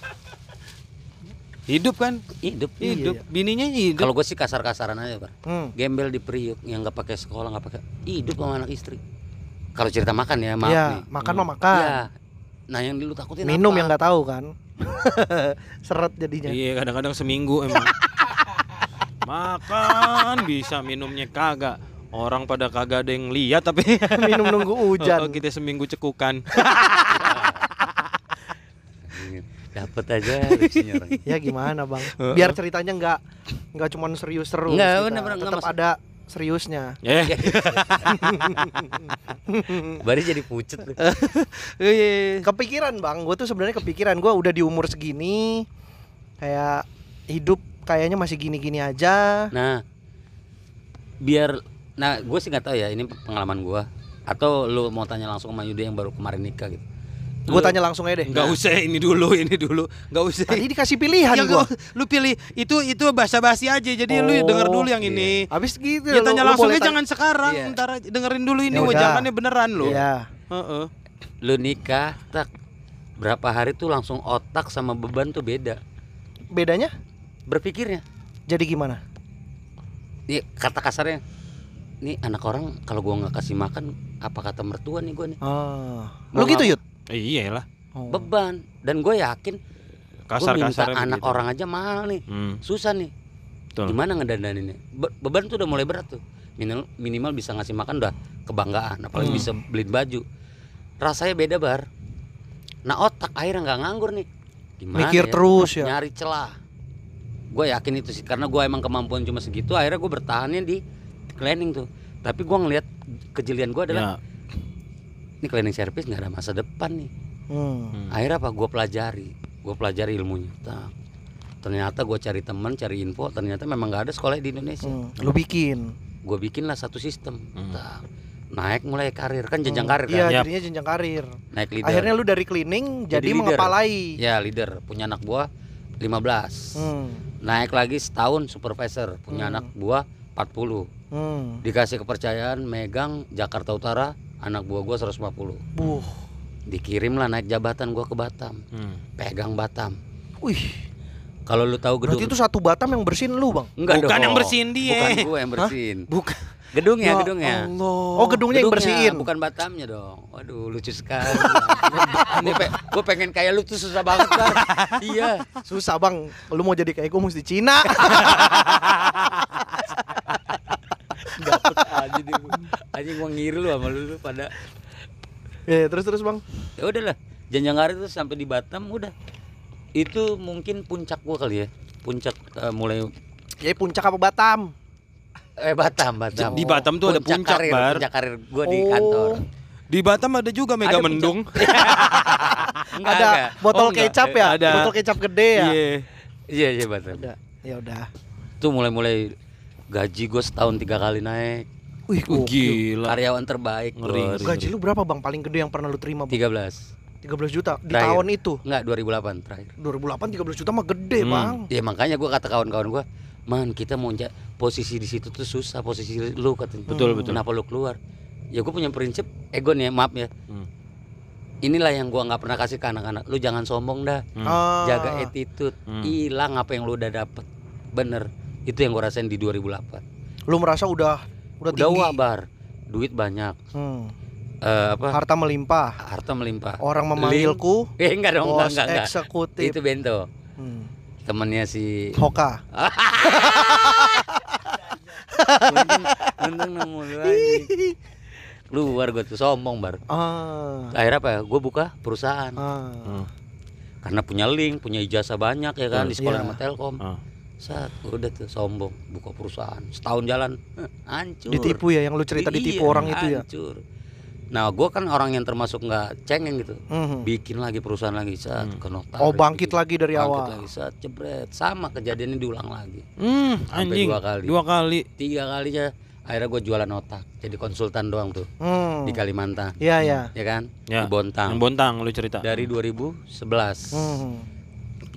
Hidup kan?
hidup
Hidup. Bininya hidup.
Iya, kalau gue sih kasar-kasaran aja Bar.
Hmm.
gembel di periuk yang nggak pakai sekolah nggak pakai hidup sama anak istri kalau cerita makan ya maaf
Iya,
nih
makan
Hmm.
mah makan.
Iya. nah yang lu takutin
Minum
apa?
yang nggak tahu kan. Seret jadinya.
Iya kadang-kadang seminggu emang Makan bisa minumnya kagak Orang pada kagak ada yang lihat tapi
Minum nunggu
Oh,
hujan.
Kita seminggu cekukan
dapat aja lucunya orang.
ya gimana, Bang?
Oh,
Biar ceritanya nggak nggak cuman serius terus.
Nggak,
kita.
bener, bener, nggak
Tetap
maksud-
ada seriusnya.
Eh,
baru jadi pucet lu.
Iya. Kepikiran, Bang. Gue tuh sebenarnya kepikiran. Gue udah di umur segini kayak hidup kayaknya masih gini-gini aja.
nah biar nah gue sih nggak tahu ya ini pengalaman gue atau lu mau tanya langsung sama Yuda yang baru kemarin nikah gitu
Lu-
Gue tanya langsung aja deh.
nggak usah ini dulu ini dulu nggak usah
Tadi dikasih pilihan
Ya,
Iya,
gua.
nggak- lu pilih itu itu basa-basi aja jadi lu
Oh,
denger dulu yang
iya.
ini
Habis gitu.
Ya
lu-
tanya
lu
langsung aja
boleh tanya-
jangan sekarang
Iya.
ntar aja. dengerin dulu ini
Ya udah.
wajangannya beneran lu
Iya.
Heeh.
lu nikah tak berapa hari tuh langsung otak sama beban tuh beda
Bedanya
berpikirnya
jadi gimana?
Nih Iya, kata kasarnya nih anak orang kalau gua nggak kasih makan apa kata mertua nih gua nih
Oh.
Ah.
Mau
Lu gitu,
ngap-
Yud?
Eh, iyalah
Oh.
beban dan gue yakin gue minta
kasar-kasar gitu. Hmm.
anak
gitu.
orang aja mahal nih susah nih
Betul.
gimana ngedandaninnya Be- beban tuh udah mulai berat tuh minimal minimal bisa ngasih makan udah kebanggaan apalagi
Hmm.
bisa beliin baju rasanya beda bar nah otak akhirnya nggak nganggur nih gimana
Mikir
ya?
terus ya.
nyari celah gue yakin itu sih karena gue emang kemampuan cuma segitu akhirnya gue bertahannya di cleaning tuh tapi gue ngelihat kejelian
Iya.
gue adalah
ya.
ini cleaning service nggak ada masa depan nih
Hmm.
akhirnya apa gue pelajari gue pelajari ilmunya tak ternyata gue cari teman cari info ternyata memang nggak ada sekolah di Indonesia
Hmm. Lu bikin.
gue bikinlah satu sistem
Hmm.
Tak. naik mulai karir kan jenjang
Hmm.
karir kan
Iya,
Yap.
jadinya jenjang karir.
naik leader
Akhirnya lu dari cleaning jadi,
Jadi leader.
mengepalai.
ya leader punya anak buah 15
Hmm.
naik lagi setahun supervisor
Hmm.
punya anak buah 40
Hmm.
dikasih kepercayaan megang Jakarta Utara anak buah gua 150
Buh.
dikirimlah naik jabatan gua ke Batam
Hmm.
pegang Batam
Wih,
kalau lu tahu
berarti
gedung
itu satu Batam yang bersihin lu, Bang.
Enggak
Bukan
dong.
yang bersihin dia.
bukan gua yang bersihin
bukan Ya
gedungnya gedungnya
Allah.
Oh, gedungnya, yang bersihin.
bukan Batamnya dong waduh lucu sekali gue pengen kayak lu tuh susah banget Bar. iya
Susah, Bang. Lu mau jadi kayak gua mesti Cina.
dapet aja deh gua. anjing gua ngiri lu sama lu lu pada
ya, terus terus, Bang.
ya udahlah janjang hari itu sampai di Batam udah itu mungkin puncak gua kali ya puncak eh, mulai
Ya puncak apa Batam?
eh Batam Batam
Di Batam tuh ada puncak,
karir,
Bar.
puncak karir gua di
Oh.
kantor
Di Batam ada juga Mega
Ada
Mendung.
Enggak,
ada
enggak.
botol
Oh, enggak.
kecap ya?
Ada.
Botol kecap gede ya?
Iya.
iya iya Batam
Udah. Ya udah.
tuh mulai-mulai gaji gue setahun tiga kali naik
Wih,
Uh,
gokil.
Gila.
karyawan terbaik
Ngeri,
bos.
Gaji lu berapa, Bang? Paling gede yang pernah lu terima, Bang?
13
13 juta di
Terakhir.
tahun itu.
enggak 2008 terakhir
2008 13 juta mah gede,
Hmm.
Bang.
ya makanya gue kata kawan-kawan gue man kita mau ja- posisi di situ tuh susah posisi lu katanya
Betul, betul.
kenapa lu keluar ya gue punya prinsip ego nih ya, maaf ya
Hmm.
inilah yang gua nggak pernah kasih ke anak-anak lu jangan sombong dah
Hmm.
Ah.
jaga attitude
Hmm.
hilang apa yang lu udah dapet bener itu yang gue rasain di 2008
Lu merasa udah udah,
udah
tinggi.
wabar duit banyak
Hmm.
Eh, apa
Harta melimpah.
harta melimpah
Orang memanggilku
eh enggak dong enggak
Oh. bos
enggak, enggak.
eksekutif.
itu bento
Hmm.
temennya si
Hoka.
untung, untung nemu lu anjing. luar gue tuh sombong bar
Ah.
akhirnya apa gue buka perusahaan
Ah.
Hmm.
karena punya link punya ijazah banyak ya kan di sekolah
Iya.
sama telkom
Ah.
saat udah tuh sombong buka perusahaan setahun jalan Heh, hancur
Ditipu ya yang lu cerita
Iya,
ditipu orang itu ya.
hancur. nah gue kan orang yang termasuk nggak cengeng gitu
Mhm.
bikin lagi perusahaan lagi saat ke notaris,
Oh, bangkit
bikin-
lagi dari
gitu. bangkit
awal.
lagi saat jebret sama kejadiannya diulang lagi
Hmm,
sampai
anjing.
dua kali
Dua kali.
tiga kali aja akhirnya gue jualan otak jadi konsultan doang tuh
Hmm.
di Kalimantan
Iya, ya.
ya kan
Ya.
di Bontang
Yang bontang lu cerita.
dari 2011
Hmm.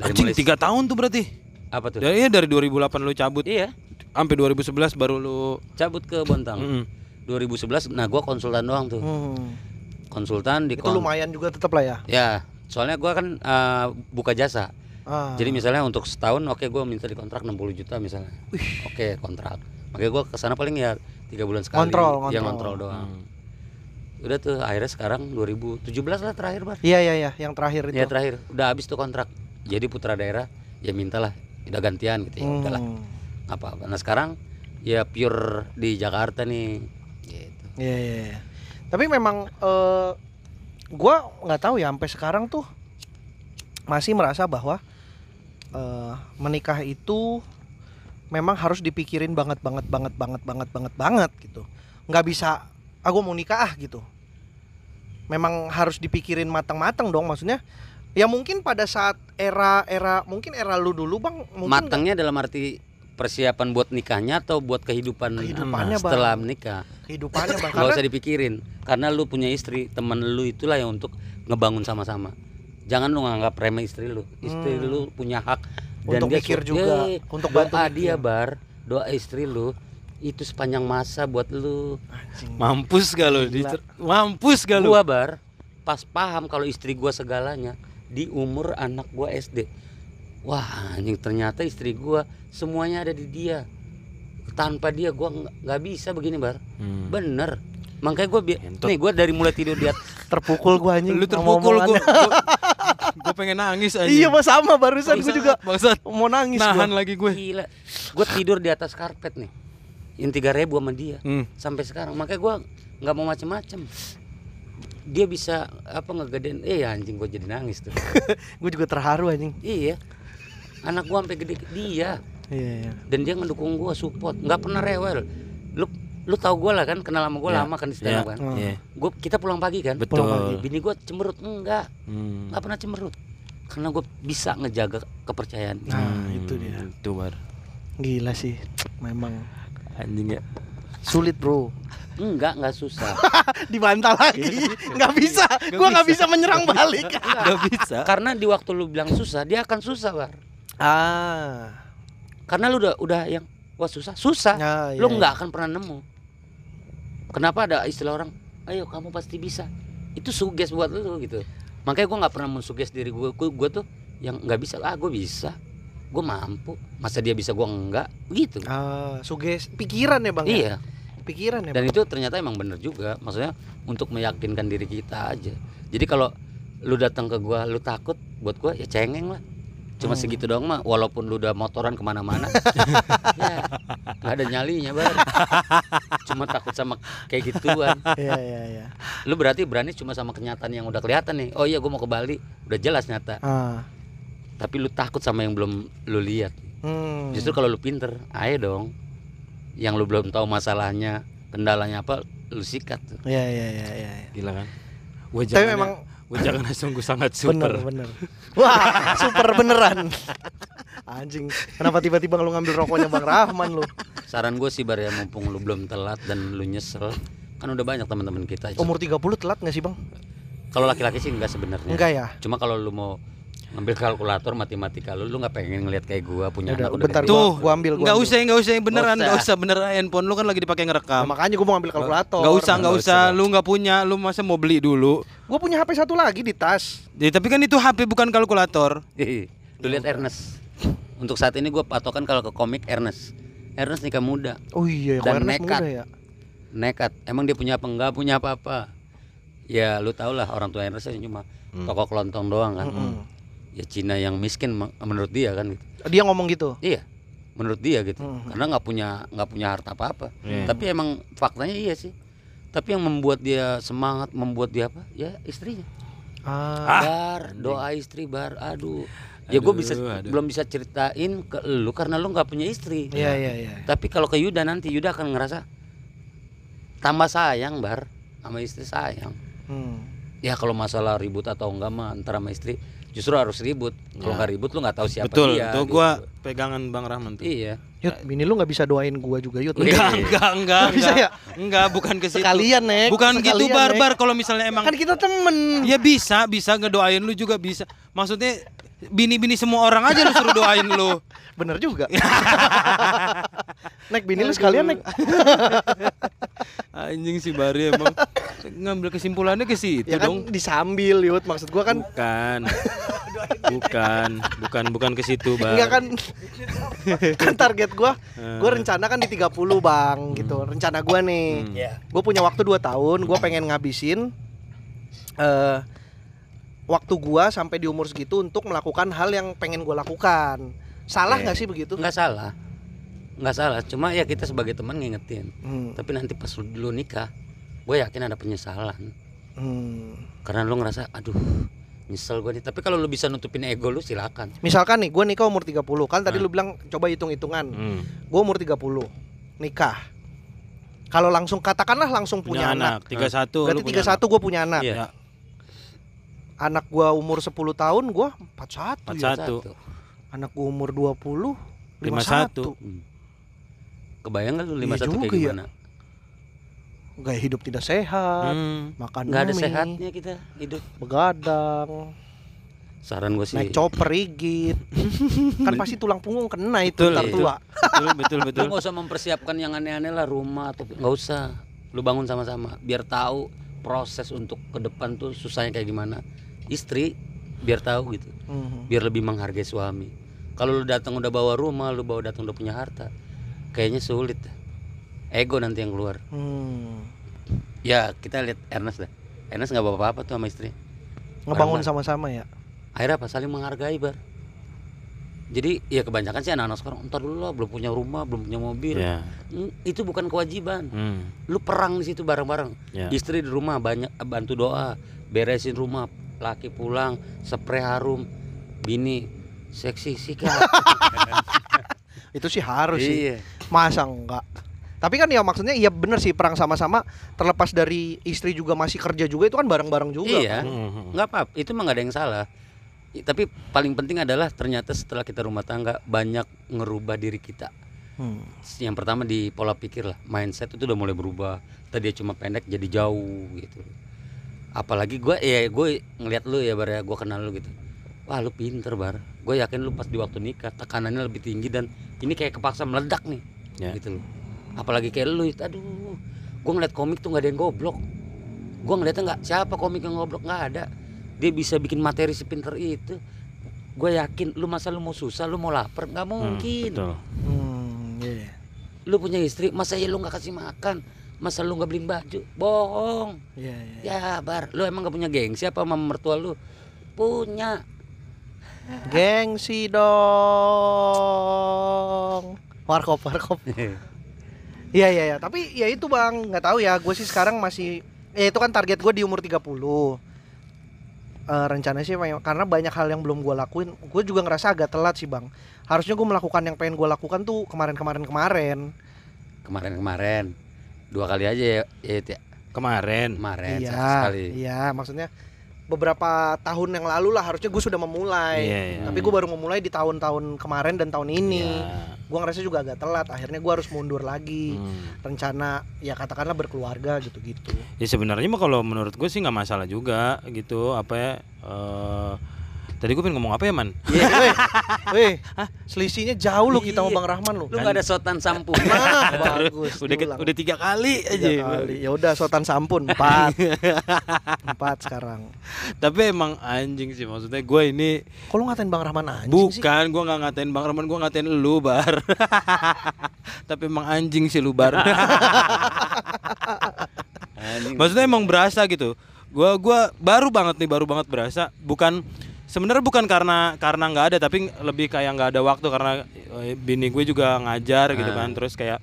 dari
Anjing
mulai-
tiga tahun tuh berarti.
apa tuh
Dari iya, dari 2008 lu cabut
iya
sampai 2011 baru lu
cabut ke Bontang
Mm-mm.
2011 nah gue konsultan doang tuh
Hmm.
konsultan di
Itu
kon-
lumayan juga tetap lah ya.
ya soalnya gue kan eh, buka jasa
Ah.
Jadi misalnya untuk setahun oke gua minta dikontrak 60 juta misalnya. Oke, kontrak. Makanya gua kesana paling ya tiga bulan sekali.
Kontrol,
Ya
kontrol.
kontrol doang. Udah tuh akhirnya sekarang 2017 lah terakhir, Bar.
Iya iya iya, yang terakhir itu.
Ya terakhir udah habis tuh kontrak. Jadi putra daerah ya mintalah udah gantian gitu ya.
Hmm.
Udahlah, nggak apa-apa. Nah, sekarang ya pure di Jakarta nih gitu.
Iya iya. iya. Tapi memang eh gua nggak tahu ya sampai sekarang tuh masih merasa bahwa eh menikah itu memang harus dipikirin banget banget banget banget banget banget banget gitu. Nggak bisa ah gua mau nikah ah gitu. Memang harus dipikirin matang-matang dong maksudnya. Ya mungkin pada saat era-era mungkin era lu dulu Bang mungkin nggak-
Matangnya dalam arti persiapan buat nikahnya atau buat kehidupan,
Kehidupannya, Bang.
Hmm, setelah menikah.
kehidupannya Bang
Gak
karena
usah dipikirin karena lu punya istri temen lu itulah yang untuk ngebangun sama-sama jangan lu nganggap remeh istri lu istri
Hmm.
lu punya hak dan
untuk
dia
mikir
su-
juga,
Yeay,
untuk bantu
doa
mikir.
dia bar doa istri lu itu sepanjang masa buat lu
Anjing.
Mampus gak lo? Dicer- Mampus
Iya,
gak lo?
gua bar pas paham kalau istri gua segalanya di umur anak gua SD wah anjing ternyata istri gua semuanya ada di dia tanpa dia gua nggak- nggak bisa begini bar
Hmm.
bener makanya gua bi-
Entot.
nih gua dari mulai tidur di atas
terpukul gua anjing
Lu
sama
terpukul
omongan.
gua. Gua- Gua pengen nangis aja.
Iya mas sama barusan gue
Bangsat,
juga
bangsat.
mau nangis
Nahan
gua.
lagi gue.
Gila. Gue tidur di atas karpet nih. Yang 3000 sama dia
Hmm.
sampai sekarang. Makanya gua nggak mau macem-macem Dia bisa apa ngegedein eh anjing gue jadi nangis tuh.
Gue juga terharu anjing
iya. Anak gua sampai gede ke dia
Iya iya
dan dia ngedukung gua support, nggak pernah rewel. Lu lu tau gue lah kan kenal sama gue
Ya.
lama kan di stand up kan.
Hmm.
Iya.
Gua, kita pulang pagi kan.
Betul.
Pulang pagi.
Bini gue cemberut enggak,
Hmm.
nggak pernah cemberut. Karena gue bisa ngejaga kepercayaan.
Nah itu dia
Itu bar.
Gila sih Memang
Anjing ya.
Sulit bro
Enggak, nggak susah.
Dibantah lagi Gak bisa Gue gak iya. bisa menyerang balik
Gak bisa.
Karena di waktu lu bilang susah, dia akan susah, Bar.
Ah
Karena lu udah udah yang wah susah, susah.
Nah,
Lu
iya.
nggak akan pernah nemu. Kenapa ada istilah orang, "Ayo kamu pasti bisa." Itu suges buat lu gitu. Makanya gua nggak pernah mensuges diri gua. Gua, gua tuh yang nggak bisa, ah gua bisa. Gua mampu. Masa dia bisa gua enggak? Gitu.
Ah, suges pikiran ya bang ya?
Iya,
pikiran ya
dan itu ternyata emang bener juga. Maksudnya untuk meyakinkan diri kita aja. Jadi kalau lu datang ke gua, lu takut, buat gua ya cengeng lah. Cuma
Hmm.
segitu doang mah, walaupun lu udah motoran kemana-mana, ya nggak ada nyalinya bar. Cuma takut sama kayak gituan.
Iya iya iya
Lu berarti berani cuma sama kenyataan yang udah kelihatan nih. Oh iya, gua mau ke Bali, udah jelas nyata.
ah.
Tapi lu takut sama yang belum lu lihat.
Hmm.
Justru kalau lu pinter, ayo dong. Yang lu belum tahu masalahnya, kendalanya apa, lu sikat tuh.
Iya iya iya iya
Gila kan. Wajahnya,
Tapi memang
wajahnya sungguh sangat super.
Bener bener Wah super beneran Anjing Kenapa tiba-tiba lu ngambil rokoknya bang Rahman lu
Saran gue sih bar ya mumpung lu belum telat dan lu nyesel kan udah banyak teman-teman kita.
Umur 30 telat gak sih bang?
Kalau laki-laki sih enggak sebenarnya.
Enggak ya?
Cuma kalau lu mau ngambil kalkulator matematika lu lu nggak pengen ngelihat kayak gua punya
Udah,
anak udah
bentar
gede.
gua,
Tuh,
gua ambil gua
Enggak
ambil.
usah, enggak usah yang beneran,
Nggak
enggak usah beneran handphone lu kan lagi dipakai
Nah,
ngerekam.
makanya gua mau ambil kalkulator.
Enggak usah, enggak
Nggak
usah.
usah.
Lu enggak punya, lu masa mau beli dulu.
Gua punya HP satu lagi di tas.
Ya, tapi kan itu HP bukan kalkulator.
lu lihat Ernest. Untuk saat ini gua patokan kalau ke komik Ernest. Ernest nikah muda,
Oh iya,
Dan
kalau Ernest
nekat.
muda ya.
nekat. Emang dia punya apa enggak punya apa-apa. Ya lu tau lah orang tua Ernest kan cuma
Hmm.
toko kelontong doang kan. Ya Cina yang miskin men- menurut dia kan gitu.
Dia ngomong gitu.
Iya, menurut dia gitu.
Mhm.
Karena nggak punya nggak punya harta apa-apa.
Hmm. Iya.
Tapi emang faktanya iya sih. Tapi yang membuat dia semangat, membuat dia apa? Ya istrinya.
Ah,
bar, doa istri bar. Aduh. Ya gue
Aduh,
bisa
aduh.
belum bisa ceritain ke lu karena lu nggak punya istri.
iya iya iya.
Tapi kalau ke Yuda nanti Yuda akan ngerasa tambah sayang bar sama istri sayang.
Hmm.
Ya kalau masalah ribut atau enggak mah antara sama istri justru harus ribut. Kalau nggak ribut lu nggak tahu siapa
Iya. Betul,
dia.
tuh
gitu.
gua pegangan Bang Rahman tuh.
Iya.
Yud, bini lu nggak bisa doain gua juga, Yud.
Enggak,
Iya.
enggak, enggak,
Nggak bisa
enggak.
ya?
Enggak, bukan ke situ.
Sekalian, Nek.
Bukan gitu
Sekalian, Nek.
barbar kalau misalnya emang
Kan kita temen.
Ya bisa, bisa ngedoain lu juga bisa. Maksudnya bini-bini semua orang aja lu suruh doain lu.
Bener juga. Nek bini lu sekalian, Nek.
Anjing si Bari emang ngambil kesimpulannya ke situ
Ya kan
dong.
disambil, Yud. Maksud gua kan
Bukan. bukan bukan bukan ke situ bang
Enggak kan kan target gua gua rencana kan di 30 Bang gitu. Rencana gua nih.
Hmm.
Ya.
Gua punya waktu 2 tahun, gua pengen ngabisin eh waktu gua sampai di umur segitu untuk melakukan hal yang pengen gua lakukan. Salah
Oke.
nggak sih begitu?
nggak salah nggak salah cuma ya kita sebagai teman ngingetin
Hmm.
tapi nanti pas lu dulu nikah gue yakin ada penyesalan
Hmm.
karena lu ngerasa aduh nyesel gue nih tapi kalau lu bisa nutupin ego lu silakan
Misalkan nih gua nikah umur 30, kan tadi lu bilang coba hitung-hitungan.
Hmm.
Gua umur 30 nikah. Kalau langsung katakanlah langsung punya, anak.
tiga satu
Berarti 31 gua punya anak.
Iya.
Anak gua umur 10 tahun gua 41 ya.
41. Satu.
Satu.
Anak gua umur 20
51.
51.
Hmm. kebayang nggak lu
Iya
lima satu kayak
juga ya.
gimana
Gaya hidup tidak sehat, makan
nggak ada
mie,
sehatnya kita hidup
begadang,
saran gue sih
naik chopper rigid. kan pasti tulang punggung kena itu
Betul,
ntar
iya.
tua.
betul Hmm, betul
lu
gitu.
betul
nggak usah mempersiapkan yang aneh-aneh lah rumah atau nggak usah lu bangun sama-sama biar tahu proses untuk ke depan tuh susahnya kayak gimana istri biar tahu gitu
Mhm.
biar lebih menghargai suami kalau lu datang udah bawa rumah lu bawa datang udah punya harta kayaknya sulit ego nanti yang keluar
Hmm.
ya kita lihat Ernest dah Ernest nggak bawa apa-apa tuh sama istri
Ngebangun
Barang-barang.
sama-sama ya.
akhirnya apa saling menghargai bar jadi ya kebanyakan sih anak-anak sekarang ntar dulu lah belum punya rumah belum punya mobil
ya
Hmm, itu bukan kewajiban
hmm.
lu perang di situ bareng-bareng
ya
istri di rumah banyak bantu doa beresin rumah laki pulang spray harum bini seksi sikat
Itu sih harus sih.
iya
Masa enggak? Tapi kan ya maksudnya iya bener sih perang sama-sama terlepas dari istri juga masih kerja juga itu kan bareng-bareng juga.
iya
Hmm,
nggak apa itu mah nggak ada yang salah I- tapi paling penting adalah ternyata setelah kita rumah tangga banyak ngerubah diri kita
Hmm.
yang pertama di pola pikir lah mindset itu udah mulai berubah tadi cuma pendek jadi jauh gitu apalagi gue ya gue ngeliat lu ya bar ya gue kenal lu gitu wah lu pinter bar gue yakin lu pas di waktu nikah tekanannya lebih tinggi dan ini kayak kepaksa meledak nih
Ya.
gitu loh apalagi kayak lu itu, aduh gue ngeliat komik tuh nggak ada yang goblok gue ngeliatnya nggak siapa komik yang goblok nggak ada dia bisa bikin materi sepinter itu gue yakin lu masa lu mau susah lu mau lapar nggak
Hmm,
mungkin
betul
Hmm, iya.
lu punya istri masa ya lu nggak kasih makan masa lu nggak beliin baju bohong
Iya, iya.
ya bar lu emang nggak punya gengsi apa sama mertua lu punya
Gengsi dong. Warkop, warkop. Iya, iya, iya. Tapi ya itu bang, nggak tahu ya. Gue sih sekarang masih, ya itu kan target gue di umur 30 puluh. Eh, rencana sih memang- karena banyak hal yang belum gue lakuin gue juga ngerasa agak telat sih bang harusnya gue melakukan yang pengen gue lakukan tuh kemarin kemarin kemarin
kemarin-kemarin dua kali aja ya, ya, Tia.
kemarin
kemarin
iya
satu sekali
iya maksudnya beberapa tahun yang lalu lah harusnya gue sudah memulai
iya iya
tapi gue baru memulai di tahun-tahun kemarin dan tahun ini
Iya.
gue ngerasa juga agak telat akhirnya gue harus mundur lagi
Hmm.
rencana ya katakanlah berkeluarga gitu-gitu
ya sebenarnya mah kalau menurut gue sih nggak masalah juga gitu apa ya eh, tadi gue pengen ngomong apa ya man
Weh, weh, selisihnya jauh loh
Iya.
kita sama Bang Rahman loh
lu nggak ada sotan sampo
nah, bagus
udah
diulang.
udah iya, tiga kali
Tiga
aja
kali. ya udah sotan sampun empat empat sekarang
tapi emang anjing sih maksudnya gue ini
kok lu ngatain Bang Rahman anjing sih
bukan gue nggak ngatain bang Rahman gue ngatain lu bar tapi emang anjing sih lu bar Iya, maksudnya
iya.
emang berasa gitu gue gua baru banget nih baru banget berasa bukan sebenarnya bukan karena karena nggak ada tapi lebih kayak nggak ada waktu karena eh, bini gue juga ngajar
Ah.
gitu kan terus kayak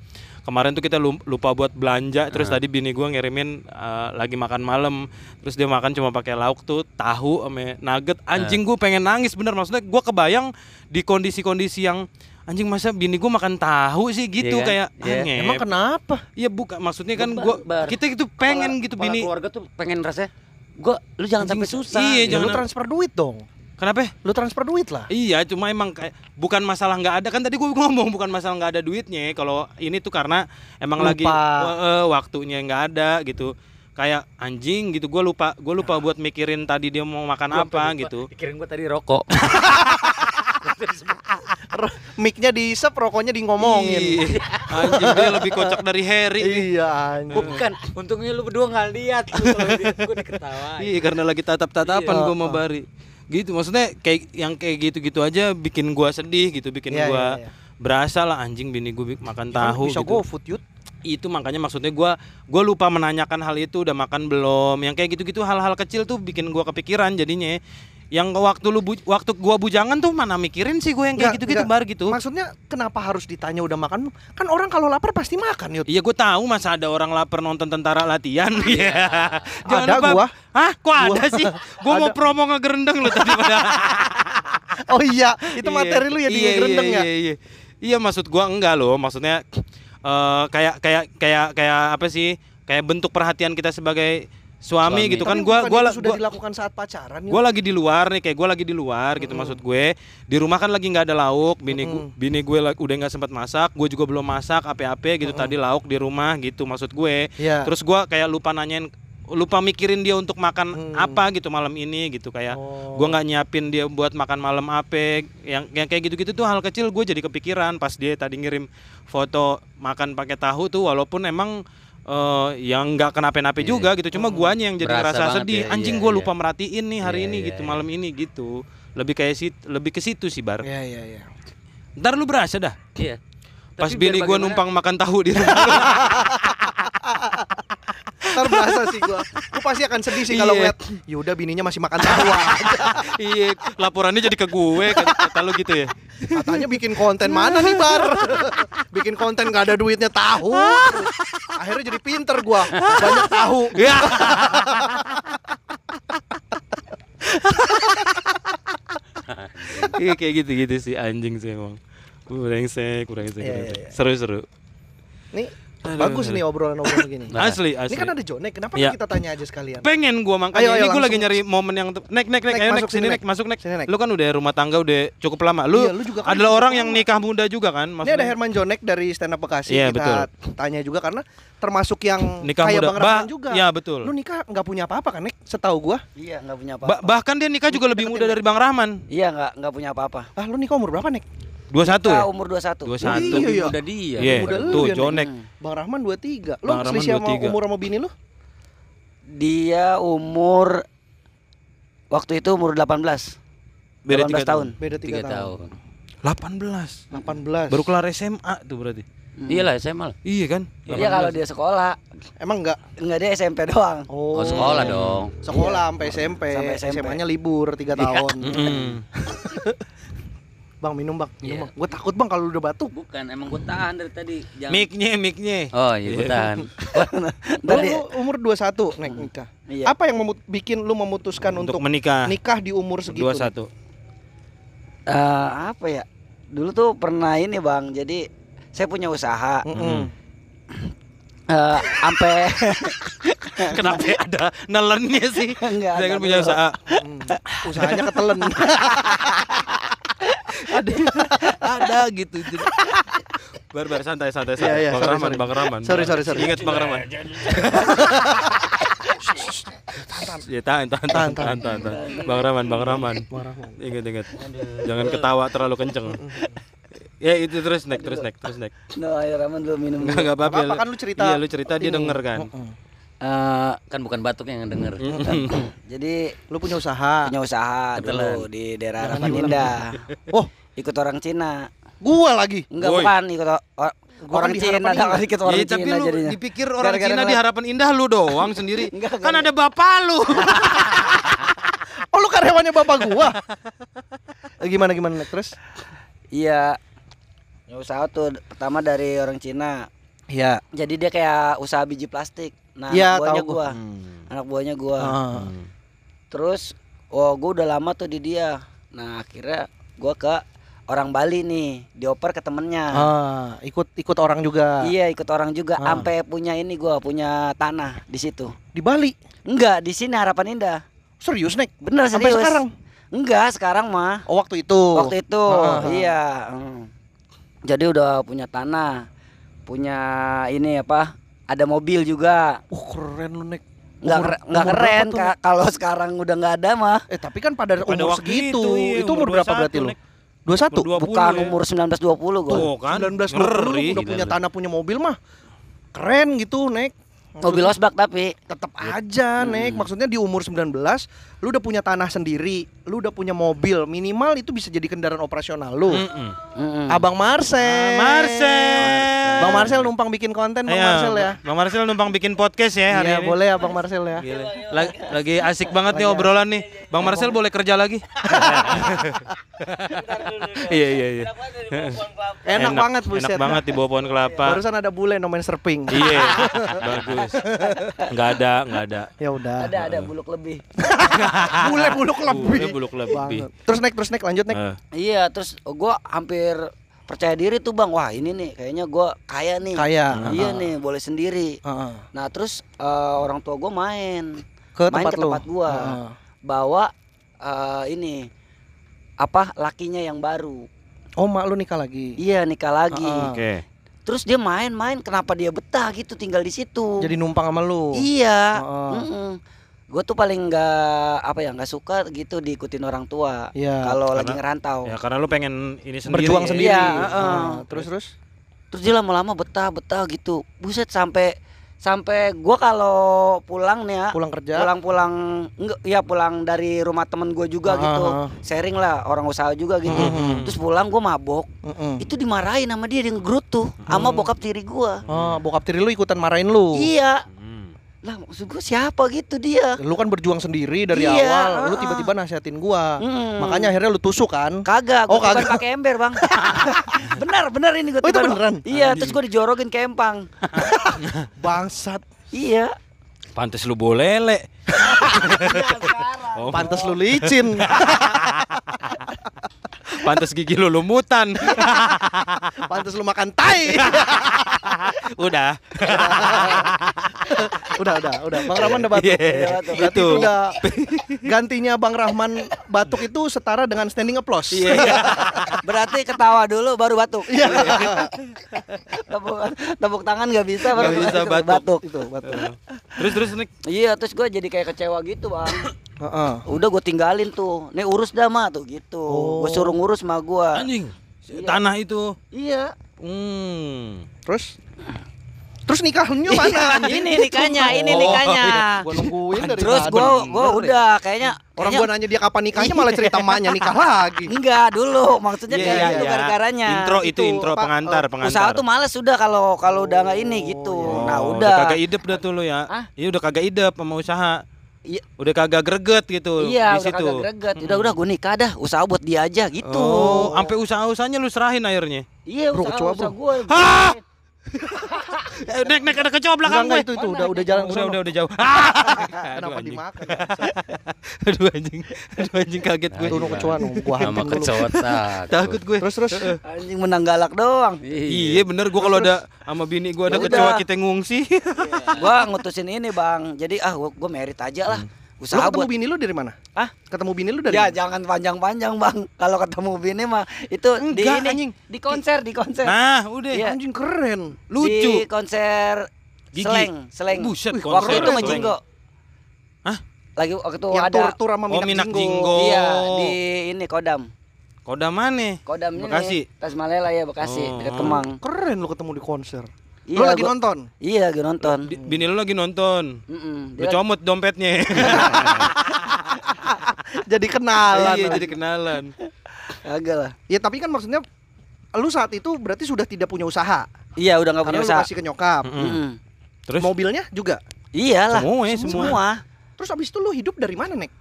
kemarin tuh kita lum- lupa buat belanja terus
Ah.
tadi bini gue ngirimin eh, lagi makan malam terus dia makan cuma pakai lauk tuh tahu ame nugget anjing
Ah.
gue pengen nangis bener maksudnya gue kebayang di kondisi-kondisi yang anjing masa bini gue makan tahu sih gitu
kan?
kayak
Iya.
aneh
emang kenapa
Iya bukan maksudnya kan
Beban,
gua
Bar.
kita gitu pengen gitu bini.
keluarga tuh pengen rasanya gua lu jangan sampai
Anjing,
susah
iya,
ya,
jangan-
lu transfer duit dong
Kenapa? ya?
lu transfer duit lah
Iya, cuma emang kayak bukan masalah nggak ada kan tadi gua ngomong bukan masalah nggak ada duitnya. Kalau ini tuh karena emang
Lupa.
lagi wa- eh, waktunya nggak ada gitu. Kayak anjing gitu gua lupa gua lupa buat mikirin tadi dia mau makan apa gitu.
pikirin gua tadi rokok
micnya di sep rokoknya di ngomongin
Ih, anjing dia lebih kocak dari Harry.
iya anjing.
bukan untungnya lu berdua nggak lihat lu kalau di- gua diketawain
Nah, Iya, karena lagi tatap-tatapan
Iya.
gua sama Bari. gitu maksudnya kayak yang kayak gitu-gitu aja bikin gua sedih gitu bikin
Iya,
gua
iya, iya.
berasa lah anjing bini gua bi- makan
Kan
tahu
bisa
gitu
go food yut
itu makanya maksudnya gua gua lupa menanyakan hal itu udah makan belum yang kayak gitu-gitu hal-hal kecil tuh bikin gua kepikiran jadinya yang waktu lu bu- waktu gua bujangan tuh mana mikirin sih gua yang kayak
Nggak,
gitu-gitu
nggak.
bar gitu
maksudnya kenapa harus ditanya udah makan kan orang kalau lapar pasti makan yut
Iya gue tahu masa ada orang lapar nonton tentara latihan. Iya. Jangan
Ada
lupa.
gua.
Hah, kok ada
Gua.
sih? Gue mau
Ada.
promo ngegerendeng lu tadi padahal.
oh iya itu
Iya.
materi lu ya di
Iya,
gerendeng
iya,
ya
Iya, iya. Iya, maksud gua enggak loh. Maksudnya eh, kayak kayak kayak kayak apa sih? Kayak bentuk perhatian kita sebagai suami,
Suami.
gitu kan
Tapi
gua
bukan
gua
itu
la-
sudah
gua- Iya.
dilakukan saat pacaran Yut.
gue lagi di luar nih kayak gue lagi di luar gitu maksud gue di rumah kan lagi nggak ada lauk bini gue
Mm-mm.
bini gue la- udah nggak sempat masak gue juga belum masak ape-ape gitu tadi lauk di rumah gitu maksud gue
Iya.
terus gue kayak lupa nanyain lupa mikirin dia untuk makan
Hmm.
apa gitu malam ini gitu kayak
Oh.
gue nggak nyiapin dia buat makan malam ape yang yang kayak gitu-gitu tuh hal kecil gue jadi kepikiran pas dia tadi ngirim foto makan pakai tahu tuh walaupun emang eh, yang nggak kenapa-napa juga gitu cuma guanya yang jadi
Iya. Berasa
ngerasa
banget
sedih
ya,
anjing
iya,
gue
iya.
lupa merhatiin nih hari
Iya,
ini
iya,
gitu
iya.
malam ini gitu lebih kayak sit lebih ke situ sih bar
Iya iya iya.
ntar lu berasa dah
Iya.
pas
Tapi
bini
biar
gue
bagaimana-
numpang makan tahu di rumah
Ntar berasa sih gua. Gua pasti akan sedih sih kalau
Iya.
ngeliat Yuda bininya masih makan tahu aja.
iya laporannya jadi ke gue kata, kata lu gitu ya
Katanya bikin konten mana nih Bar? Bikin konten gak ada duitnya tahu. Akhirnya jadi pinter gua. Banyak tahu.
ya iya kayak gitu gitu sih anjing sih emang Uh, brengsek brengsek
Iya, iya,
brengsek
iya.
seru seru
Nih
Aduh,
bagus
aduh.
nih obrolan-obrolan gini.
Nah,
asli asli
Ini kan ada Jonek, kenapa
Iya.
nggak kita tanya aja sekalian?
pengen gua
Ayo,
makanya
ayo,
ini gua lagi
langsung.
nyari momen yang te- nek nek nek
Nek,
ayo nek
masuk
sini
sini,
nek
Nek.
masuk nek.
Sini, Nek.
lu kan udah rumah tangga udah cukup lama lu,
Iya, lu juga kan
adalah
cukup
orang
lama.
yang nikah muda juga kan
Ini ada Herman Jonek dari Stand Up Bekasi
Iya,
kita tanya juga karena termasuk yang
nikah
kayak
muda
Bang
Ba-
Rahman juga.
ya betul
Lu nikah nggak punya apa-apa kan Nek? Setahu gua.
Iya nggak punya apa-apa.
Ba- bahkan dia nikah juga lebih muda dari Bang Rahman
Iya nggak nggak punya apa-apa.
Ah lu nikah umur berapa Nek?
21 ya
Kita umur
21
Iya,
21
Lebih
iya.
muda dia.
Iya,
muda lu
tuh
ya, Nek.
Jonek
Hmm.
Bang Rahman 23. Lu
Bang Rahman
selisih sama
23.
umur sama bini lu?
Dia umur waktu itu umur 18.
Beda
18
tiga tahun.
tahun.
Beda 3
Tiga
tahun.
tahun.
18
18.
baru kelar SMA tuh berarti
Iyalah SMA Hmm. lah.
iya kan
Iya Hmm. kalau dia sekolah
Emang enggak?
nggak dia SMP doang.
Oh, sekolah dong.
Sekolah sampai SMP.
Sampai SMP.
SMA-nya libur 3 tahun.
Mm.
Bang minum, Bang. Minum,
Iya.
bang. Gue takut, Bang, kalau udah batuk.
Bukan, emang gue tahan dari tadi. Jangan-
Mic-nya, mic-nya.
Oh iya, gue tahan.
Ntar
Lu
dia-
umur 21 naik nikah.
Iya.
Apa yang memut- bikin lu memutuskan Kan untuk,
Untuk menikah.
nikah di umur segitu? Nek?
21.
Eh, apa ya? Dulu tuh pernah ini bang. Jadi saya punya usaha.
Hmm.
Mm-mm.
Eh, Ampe
Kenapa ada nelennya sih? Saya
Enggak,
kan
enggak
punya
dulu.
usaha.
Mm. Usahanya ketelen.
ada gitu. Jadi- Bar bar santai santai santai.
Iya, iya,
Bang
sorry,
Rahman,
sorry.
Bang Rahman.
Sorry, sorry, sorry.
Ingat Bang Rahman. Ya tahan tahan tahan tahan tahan. tahan. Bang Rahman, Bang Rahman. Ingat ingat. Jangan ketawa terlalu kenceng. Ya itu terus naik terus naik terus naik.
No, ayo Raman dulu minum.
Enggak enggak apa-apa.
Apa-apa kan lu cerita
Iya, lu cerita dia
ini.
denger kan.
Mm-mm.
Eh,
kan bukan batuk yang denger.
jadi
Lu punya usaha.
punya usaha dulu di daerah Ramadinda.
Oh,
Ikut orang Cina.
gua lagi.
Enggak
Woi.
bukan ikut o- o-
Gua kan
orang
di
Cina,
Harapan
ada
Indah.
dikit orang
Iya, tapi
Cina
lu
jadinya.
dipikir orang
Gara-gara
Cina di
ya?
ngeliat-
harapan indah lu doang sendiri.
Enggak,
kan
enggak.
ada bapak lu.
Oh, lu karyawannya bapak gua. Eh, gimana gimana Nek? terus?
Iya. Ya usaha tuh pertama dari orang Cina.
Iya.
Jadi dia kayak usaha biji plastik. Nah,
Iya,
anak buahnya
tahu
gua.
Hmm.
Anak buahnya gua.
Ah.
Terus oh gua udah lama tuh di dia. Nah, akhirnya gua ke orang Bali nih, dioper ke temennya.
Ah, ikut ikut orang juga
Iya, ikut orang juga
Ah.
sampai punya ini gua, punya tanah di situ.
di Bali.
Enggak, di sini Harapan Indah.
Serius, Nek?
Bener
Sampai
serius.
sekarang?
Enggak, sekarang mah.
Oh, waktu itu.
waktu itu
Ah, ah.
iya mm. jadi udah punya tanah punya ini apa ada mobil juga
Uh, keren lu, Nek.
nggak
Umur-
kere- nggak
umur
keren
berapa tuh,
Kak. kalau sekarang udah nggak ada mah
Nek? Eh, tapi kan pada,
Pada
umur
waktu
segitu.
itu, iya,
Itu, umur
umur
berapa
21,
berarti lu?
Nek.
21?
Umur 20.
bukan
ya.
umur 1920 gua
Tuh kan.
19 20 lu
Ngeri.
udah punya
Gila lu.
tanah, punya mobil mah. Keren gitu, Nek.
mobil
Terus
osbak tapi
tetap aja
Hmm.
nek maksudnya di umur 19 lu udah punya tanah sendiri lu udah punya mobil minimal itu bisa jadi kendaraan operasional lu
Mm-mm.
Mm-mm.
abang Marcel
Ah, Marcel.
bang Marcel numpang bikin konten bang
Ayo,
Marcel ya
Iya, Bang Marcel numpang bikin podcast ya hari
Iya
ini.
boleh ya Bang Marcel ya.
Gila. Lagi, lagi asik banget nih obrolan nih. Bang Marcel boleh kerja lagi? Iya iya iya.
Enak, banget buset.
Enak banget di bawah pohon kelapa.
Barusan ada bule nomain surfing.
Iya. Bagus. Enggak ada, enggak ada.
ya udah.
ada ada buluk lebih
bule buluk lebih.
Bule Uh, buluk lebih.
Banget. Terus naik terus naik lanjut naik.
Eh,
iya terus gua hampir percaya diri tuh bang wah ini nih kayaknya gua kaya nih
Kaya.
iya nih boleh sendiri
Heeh.
nah terus eh, orang tua gua main
Ke
Main
tempat
ke
lu.
tempat gua.
Heeh.
bawa eh, ini apa lakinya yang baru
Oh, mak lu nikah lagi.
iya nikah lagi
Ah, ah.
Oke.
terus dia main-main kenapa dia betah gitu tinggal di situ
Jadi numpang sama lu.
iya
Heeh.
gue tuh paling nggak apa ya nggak suka gitu diikutin orang tua
Iya.
kalau
karena-
lagi ngerantau
Ya karena lu pengen ini sendiri. ya.
Berjuang sendiri.
Iya,
Heeh.
heeh.
Terus terus.
terus dia lama-lama betah betah gitu buset sampai sampai gua kalau pulang nih ya
Pulang kerja.
pulang-pulang enggak ya pulang dari rumah temen gue juga
Ah,
gitu
ah, ah.
sharing lah orang usaha juga gitu
Mhm.
terus pulang gue mabok
Heeh.
itu dimarahin sama dia dia ngegrut tuh sama
Hmm.
bokap tiri gua
Oh, bokap tiri lu ikutan marahin lu.
iya
Hmm.
lah maksud gue siapa gitu dia
Lu kan berjuang sendiri dari
Iya,
awal. Lu
heeh.
tiba-tiba nasihatin gua.
Hmm.
Makanya akhirnya lu tusuk kan.
Kagak,
Oh,
gue tiban
kagak.
pakai ember bang Benar, benar ini gue
Oh, itu beneran?
Iya, terus gue dijorokin ke empang
Ah, Bangsat.
Iya
Pantes lu bolele. Oh,
Pantes lu licin.
pantes gigi lu lumutan.
Pantes lu makan tai.
Udah.
udah, udah, udah. Bang Rahman udah batuk.
Iya,
batuk.
Berarti
Itu.
itu udah gantinya Bang Rahman batuk itu setara dengan standing applause.
Berarti ketawa dulu baru batuk tepuk, tepuk tangan gak bisa baru
Nggak bisa batuk.
itu batuk.
Terus terus Nick.
Iya, terus gue jadi kayak kecewa gitu bang
Heeh.
Udah gue tinggalin tuh Nih urus dah mah tuh gitu Gue suruh ngurus sama gue
Anjing. Tanah itu.
Iya
Hmm.
Terus Terus nikahnya mana? anjing?
Ini nikahnya, ini nikahnya
Gua nungguin dari
Terus
tadi.
gue gua
Bener ya?
udah kayaknya
Orang
kayaknya-
gua nanya dia kapan nikahnya malah cerita emaknya nikah lagi.
Enggak dulu, maksudnya
Iya,
kayak
iya,
gitu
iya.
gara-garanya. Oh,
Intro itu,
Itu,
intro
Pak,
pengantar,
eh,
pengantar.
Usaha tuh males sudah kalau kalau udah nggak ini gitu.
Oh,
nah, udah.
kagak idep dah tuh lu ya.
Hah?
Iya udah kagak idep sama usaha.
Iya.
Udah kagak greget gitu
Iya,
di
udah
situ.
kagak greget. Udah udah gue nikah dah, usaha buat dia aja gitu.
Oh, sampai usaha-usahanya lu serahin akhirnya.
Iya,
Bro,
usaha,
kecoa,
usaha
bro.
gue.
Hah? Eh, Nek nek ada kecoa
Enggak,
belakang
enggak,
gue.
itu itu udah udah jalan ke
Udah
sono.
udah udah jauh. Ah! Aduh,
Kenapa
anjing.
dimakan?
Aduh anjing. Aduh anjing kaget gue.
Turun kecoa nung gua
Sama
hantam dulu.
kecoa
Takut gue.
Terus terus
Anjing menang galak doang.
Iya bener gue kalau ada sama bini gue ada
Ya
kecoa
udah.
kita ngungsi.
Gua ngutusin ini, Bang. Jadi ah gua, gua merit aja lah.
Mm.
Lu
Usaha
ketemu
buat
bini lu dari mana?
Hah?
Ketemu bini lu dari mana?
Ya jangan panjang-panjang bang. Kalau ketemu bini mah itu di
Enggak,
ini
anjing.
di konser di konser
Nah, udah.
Iya.
Anjing keren.
Lucu.
di konser
Gigi.
Seleng Seleng.
Buset,
Wih,
konser
waktu itu sama
Seleng.
Jinggo.
Hah?
Lagi waktu itu
Yang
ada
tur-tur sama
Oh,
minang,
Minak
jinggo.
Jinggo.
Iya di ini Kodam.
Koda mana?
Kodam ini
Bekasi.
Tasmalela ya Bekasi
Oh.
dekat Kemang.
Keren lu ketemu di konser. lu
Iya,
lagi
gua-
nonton.
Iya lagi nonton.
Di- Bini lu lagi nonton. Lu
Mm-mm, dia lagi-
comot dompetnya.
jadi kenalan.
Iya, jadi kenalan.
Agak lah.
Ya tapi kan maksudnya lu saat itu berarti sudah tidak punya usaha.
Iya udah nggak punya
karena lu
usaha. Hmm.
Hmm. kasih ke nyokap.
Mm.
Mm-mm.
Terus
Mobilnya juga.
Iyalah.
Semua ya, semua.
semua.
Terus abis itu lu hidup dari mana, Nek?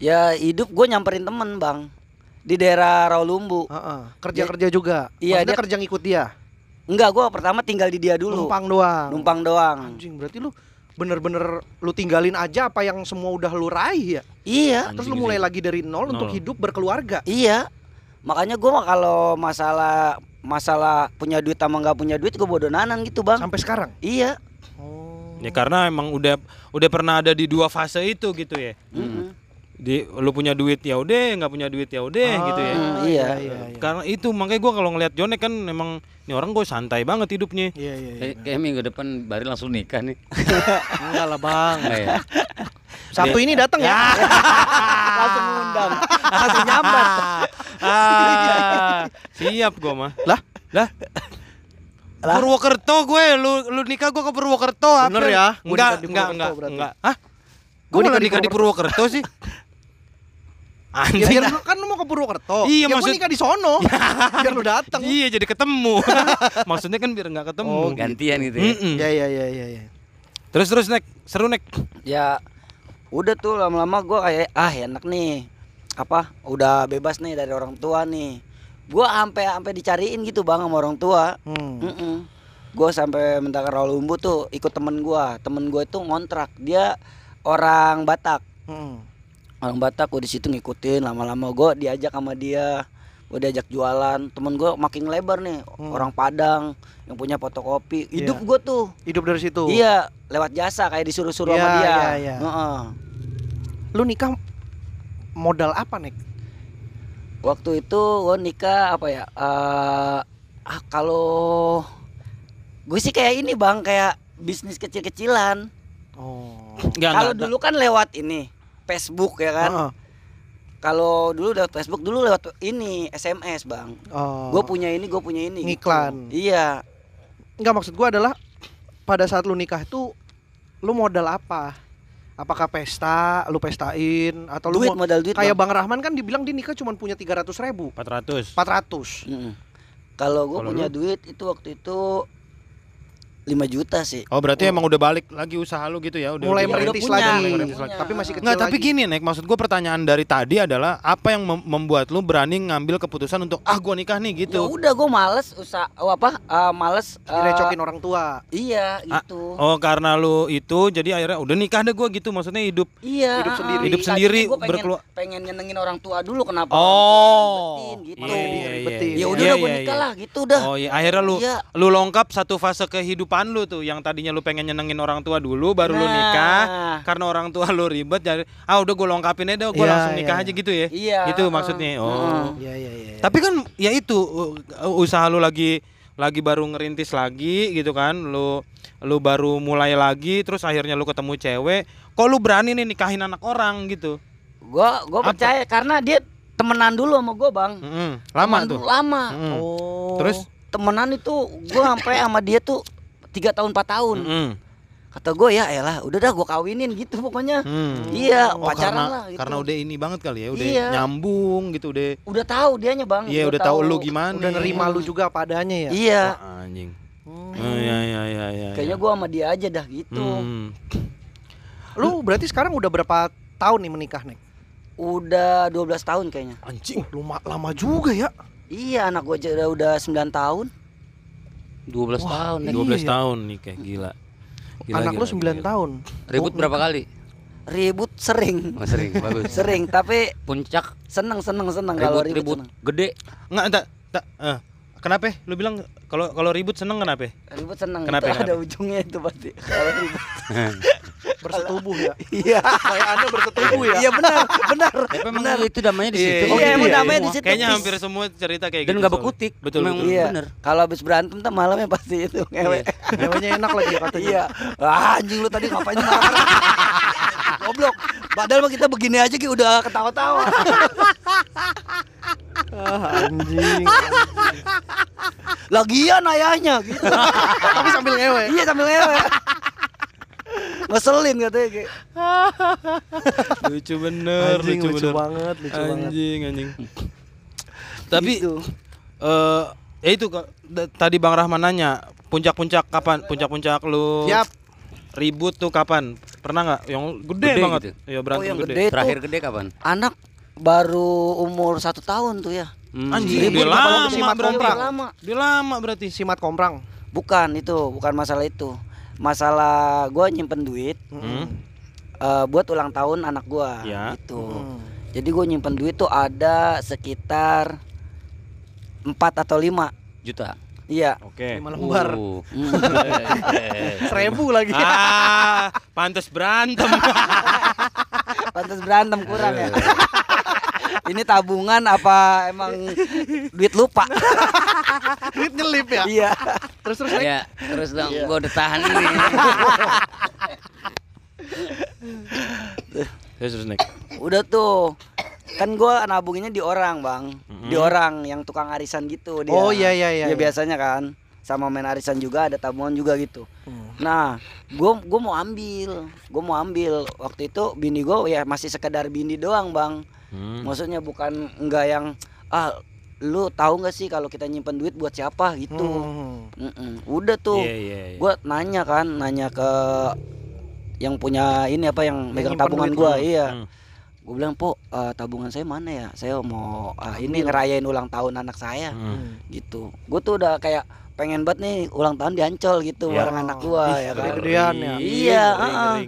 Ya hidup gue nyamperin temen bang di daerah Rawalumbu.
Kerja-kerja juga.
Iya,
maksudnya
dia-
kerja ngikut dia.
Enggak, gua pertama tinggal di dia dulu.
Numpang doang.
Numpang doang.
Anjing, berarti lu bener-bener lu tinggalin aja apa yang semua udah lu raih ya.
Iya,
Terus lu mulai lagi dari nol,
Nol.
untuk hidup berkeluarga.
iya. Makanya gua mah kalau masalah masalah punya duit sama nggak punya duit gua bodoh nanan gitu bang.
Sampai sekarang.
Iya.
Oh.
Ya karena emang udah udah pernah ada di dua fase itu gitu ya.
Mm-mm.
Di lu punya duit ya udah, nggak punya duit ya udah gitu ya.
Ah,
iya,
iya.
iya, iya.
Karena itu makanya gua kalau ngeliat Jonek kan emang ini orang gue santai banget hidupnya.
Iya, iya, iya.
Kayak minggu depan Bari langsung nikah nih.
Enggak lah, Bang.
Enggak ya?
Sabtu ini datang ya.
Langsung ngundang. Langsung nyambat.
Ah, siap gua mah.
Lah,
Lah.
Lah?
Purwokerto gue, lu lu nikah gue ke Purwokerto.
Bener
April.
ya? Gua
Enggak,
nikah di
enggak,
Purwokerto
enggak,
berarti.
enggak. Hah?
Gua
Gue
nikah
malah
di
nikah di Purwokerto sih.
Ya,
Anjing.
biar lu- kan lu mau ke Purwokerto.
Iya,
ya, gua
maksud-
nikah di sono. biar lu datang.
Iya, jadi ketemu. Maksudnya kan biar enggak ketemu.
Oh,
gantian gitu ya.
Mm-mm.
Ya ya ya ya ya.
Terus terus nek, seru nek.
ya udah tuh lama-lama gua kayak ah enak nih apa udah bebas nih dari orang tua nih gua sampai sampai dicariin gitu bang sama orang tua
Hmm.
Mm-mm. gua sampai minta ke Rawalumbu tuh ikut temen gua temen gua itu ngontrak dia orang Batak
Hmm.
orang Batak gua di situ ngikutin lama-lama gua diajak sama dia gua diajak jualan temen gua makin lebar nih
Hmm.
orang Padang yang punya fotokopi hidup
Iya.
gua tuh
Hidup dari situ.
iya lewat jasa kayak disuruh-suruh sama
Iya,
dia
iya, iya.
Heeh.
Lu nikah modal apa, Nek?
waktu itu gue nikah apa ya eh ah kalau gue sih kayak ini bang kayak bisnis kecil-kecilan
Oh.
Enggak,
kalau
enggak.
dulu kan lewat ini Facebook ya kan
Heeh.
kalau dulu lewat Facebook dulu lewat ini SMS bang
Oh.
gue punya ini gue punya ini gitu.
Ngiklan.
iya
Enggak maksud gua adalah pada saat lu nikah itu lu modal apa? Apakah pesta, lu pestain atau lu
duit
mo-
modal duit
kayak
Bang.
Bang Rahman kan dibilang dia nikah cuma punya 300 ribu
400.
400
Mm-mm. kalau gue
Kalau
punya duit itu waktu itu 5 juta sih
Oh, berarti
Oh.
emang udah balik lagi usaha lu gitu ya, udah udah-
mulai
Iya,
merintis
udah punya,
lagi
mulai merintis lagi.
tapi masih kecil
Nggak, tapi
lagi.
gini Nek, maksud gue pertanyaan dari tadi adalah apa yang mem- membuat lu berani ngambil keputusan untuk ah gua nikah nih
ya
gitu.
udah gue males usah oh, apa eh, males eh,
direcokin orang tua
iya
Ah,
gitu
Oh, karena lu itu jadi akhirnya udah nikah deh gua gitu, maksudnya hidup
Iya.
Hidup
ah,
sendiri.
ah.
Hidup
Tadinya
sendiri,
gua pengen,
berkelu-
pengen nyenengin orang tua dulu kenapa?
Oh.
orang tua ribetin, gitu.
Iya, iya, iya,
Ribetin.
iya.
Ya udah
Iya,
lah gua
iya,
nikah
iya.
lah gitu dah.
Oh iya, akhirnya lu
Iya.
lu longkap satu fase kehidupan lu tuh yang tadinya lu pengen nyenengin orang tua dulu baru lu
Nah,
nikah karena orang tua lu ribet jadi ah udah gua lengkapin aja gua
Iya,
langsung
iya,
nikah
iya.
aja gitu ya.
Iya.
Itu maksudnya. Oh.
Heeh.
iya iya iya
Tapi kan ya itu u- usaha lu lagi lagi baru ngerintis lagi gitu kan. Lu lu baru mulai lagi terus akhirnya lu ketemu cewek, kok lu berani nih nikahin anak orang gitu.
Gua gua
Apa?
percaya karena dia temenan dulu sama gua, Bang.
Mm-mm. Lama
Temenan
tuh.
dulu Lama.
Mm-mm.
oh
Terus
Temenan itu gua sampai sama dia tuh tiga tahun 4 tahun.
Mm-mm.
Kata gua ya elah udah dah gua kawinin gitu pokoknya.
Mm.
Iya,
Oh,
pacaran
karena,
lah gitu.
karena udah ini banget kali ya, udah
Iya.
nyambung gitu, udah
udah tahu dianya, Bang.
Iya udah tahu lu gimana.
udah nerima lu juga padanya ya
Iya.
Wah, anjing. Oh, iya iya iya iya.
Hmm. Kayaknya
iya.
gua sama dia aja dah gitu.
Hmm.
lu berarti sekarang udah berapa tahun nih menikah nih
Udah 12 tahun kayaknya.
anjing
Uh,
lama lama juga ya
Iya anak gue aja udah, udah 9 tahun
12 tahun. Nek.
12
Iya.
tahun nih kayak gila. Gila,
anak
gila,
lu 9
gila.
tahun
Ribut berapa kali?
Ribut sering
Oh, sering, bagus.
Sering tapi
Puncak
seneng seneng seneng kalau
ribut
ribut,
ribut
seneng.
gede.
Enggak, tak tak eh, kenapa? ya? Lu bilang kalau kalau ribut seneng kenapa? ya?
Ribut seneng
Kenapa,
itu ada
kenapa?
ujungnya itu pasti Kalau ribut
bersetubuh ya
Iya
kayak anda bersetubuh ya
Iya benar benar
Tapi emang itu damanya di
Iya,
situ.
iya,
Oh,
Iya
gitu
emang
ya?
namanya di situ
Kayaknya
bis.
hampir semua cerita kayak
Dan
gitu.
nggak
soalnya.
bekutik.
Betul,
Memang
betul.
Iya
bener.
Kalau habis berantem tuh malamnya pasti itu ngewe
Ceweknya enak lagi ya Iya, katanya
Iya Wah anjing lu tadi ngapain marah-marah? Goblok Padahal mah kita begini aja Ki udah ketawa-tawa
Ah, anjing
Lagian ayahnya gitu
tapi sambil ngewe
Iya sambil ngewe Ngeselin katanya Ki
Lucu bener,
anjing
lucu,
lucu
bener.
banget lucu banget
anjing, anjing. Tapi
Gitu.
eh ya itu Kak. Da- tadi Bang Rahman nanya puncak-puncak kapan? Puncak-puncak lu
Siap.
ribut tuh kapan? Pernah nggak yang gede,
Gede
banget?
gitu.
Ya berantem
Oh, yang
gede.
gede. Itu-
Terakhir gede kapan?
anak baru umur satu tahun tuh ya
Hmm.
Anjing, dia
Ribut apa lu
lama
kesimat
berarti.
Perang.
lama
Dia lama berarti.
simat komprang
bukan itu bukan masalah itu masalah gua nyimpen duit
Hmm.
eh, buat ulang tahun anak gua
Ya.
gitu
Hmm.
jadi gua nyimpen duit tuh ada sekitar empat atau lima
juta.
iya Hmm.
Oke.
lima lembar
Uh.
seribu lagi
Ah, pantas berantem.
pantas berantem kurang ya ini tabungan apa emang duit lupa
duit nyelip ya
iya
terus terus Nek.
Ya, terus dong
Iya.
gua udah tahan ini.
Terus terus Nek.
udah tuh kan gua nabunginnya di orang bang di
Mhm.
orang yang tukang arisan gitu dia
Oh, iya, iya, iya,
Dia
iya.
biasanya kan sama main arisan juga ada tabungan juga gitu
Hmm.
nah gue gua mau ambil gue mau ambil waktu itu bini gue ya masih sekedar bini doang bang
Hmm.
maksudnya bukan enggak yang ah lu tahu nggak sih kalau kita nyimpen duit buat siapa gitu
Hmm.
Mm-mm. udah tuh
Iya, iya, iya.
gue nanya kan nanya ke yang punya ini apa yang megang
nyimpen
tabungan
duit
gue
lu.
iya
Hmm.
gue bilang po eh, tabungan saya mana ya saya mau ah, ini ngerayain ulang tahun anak saya
Hmm.
gitu gue tuh udah kayak pengen banget nih ulang tahun diancol gitu
Ya.
bareng anak gua
Ih,
ya kan
keren. Gede-gedean ya.
Ngeri,
Iya,
ngeri,
ah.
ngeri,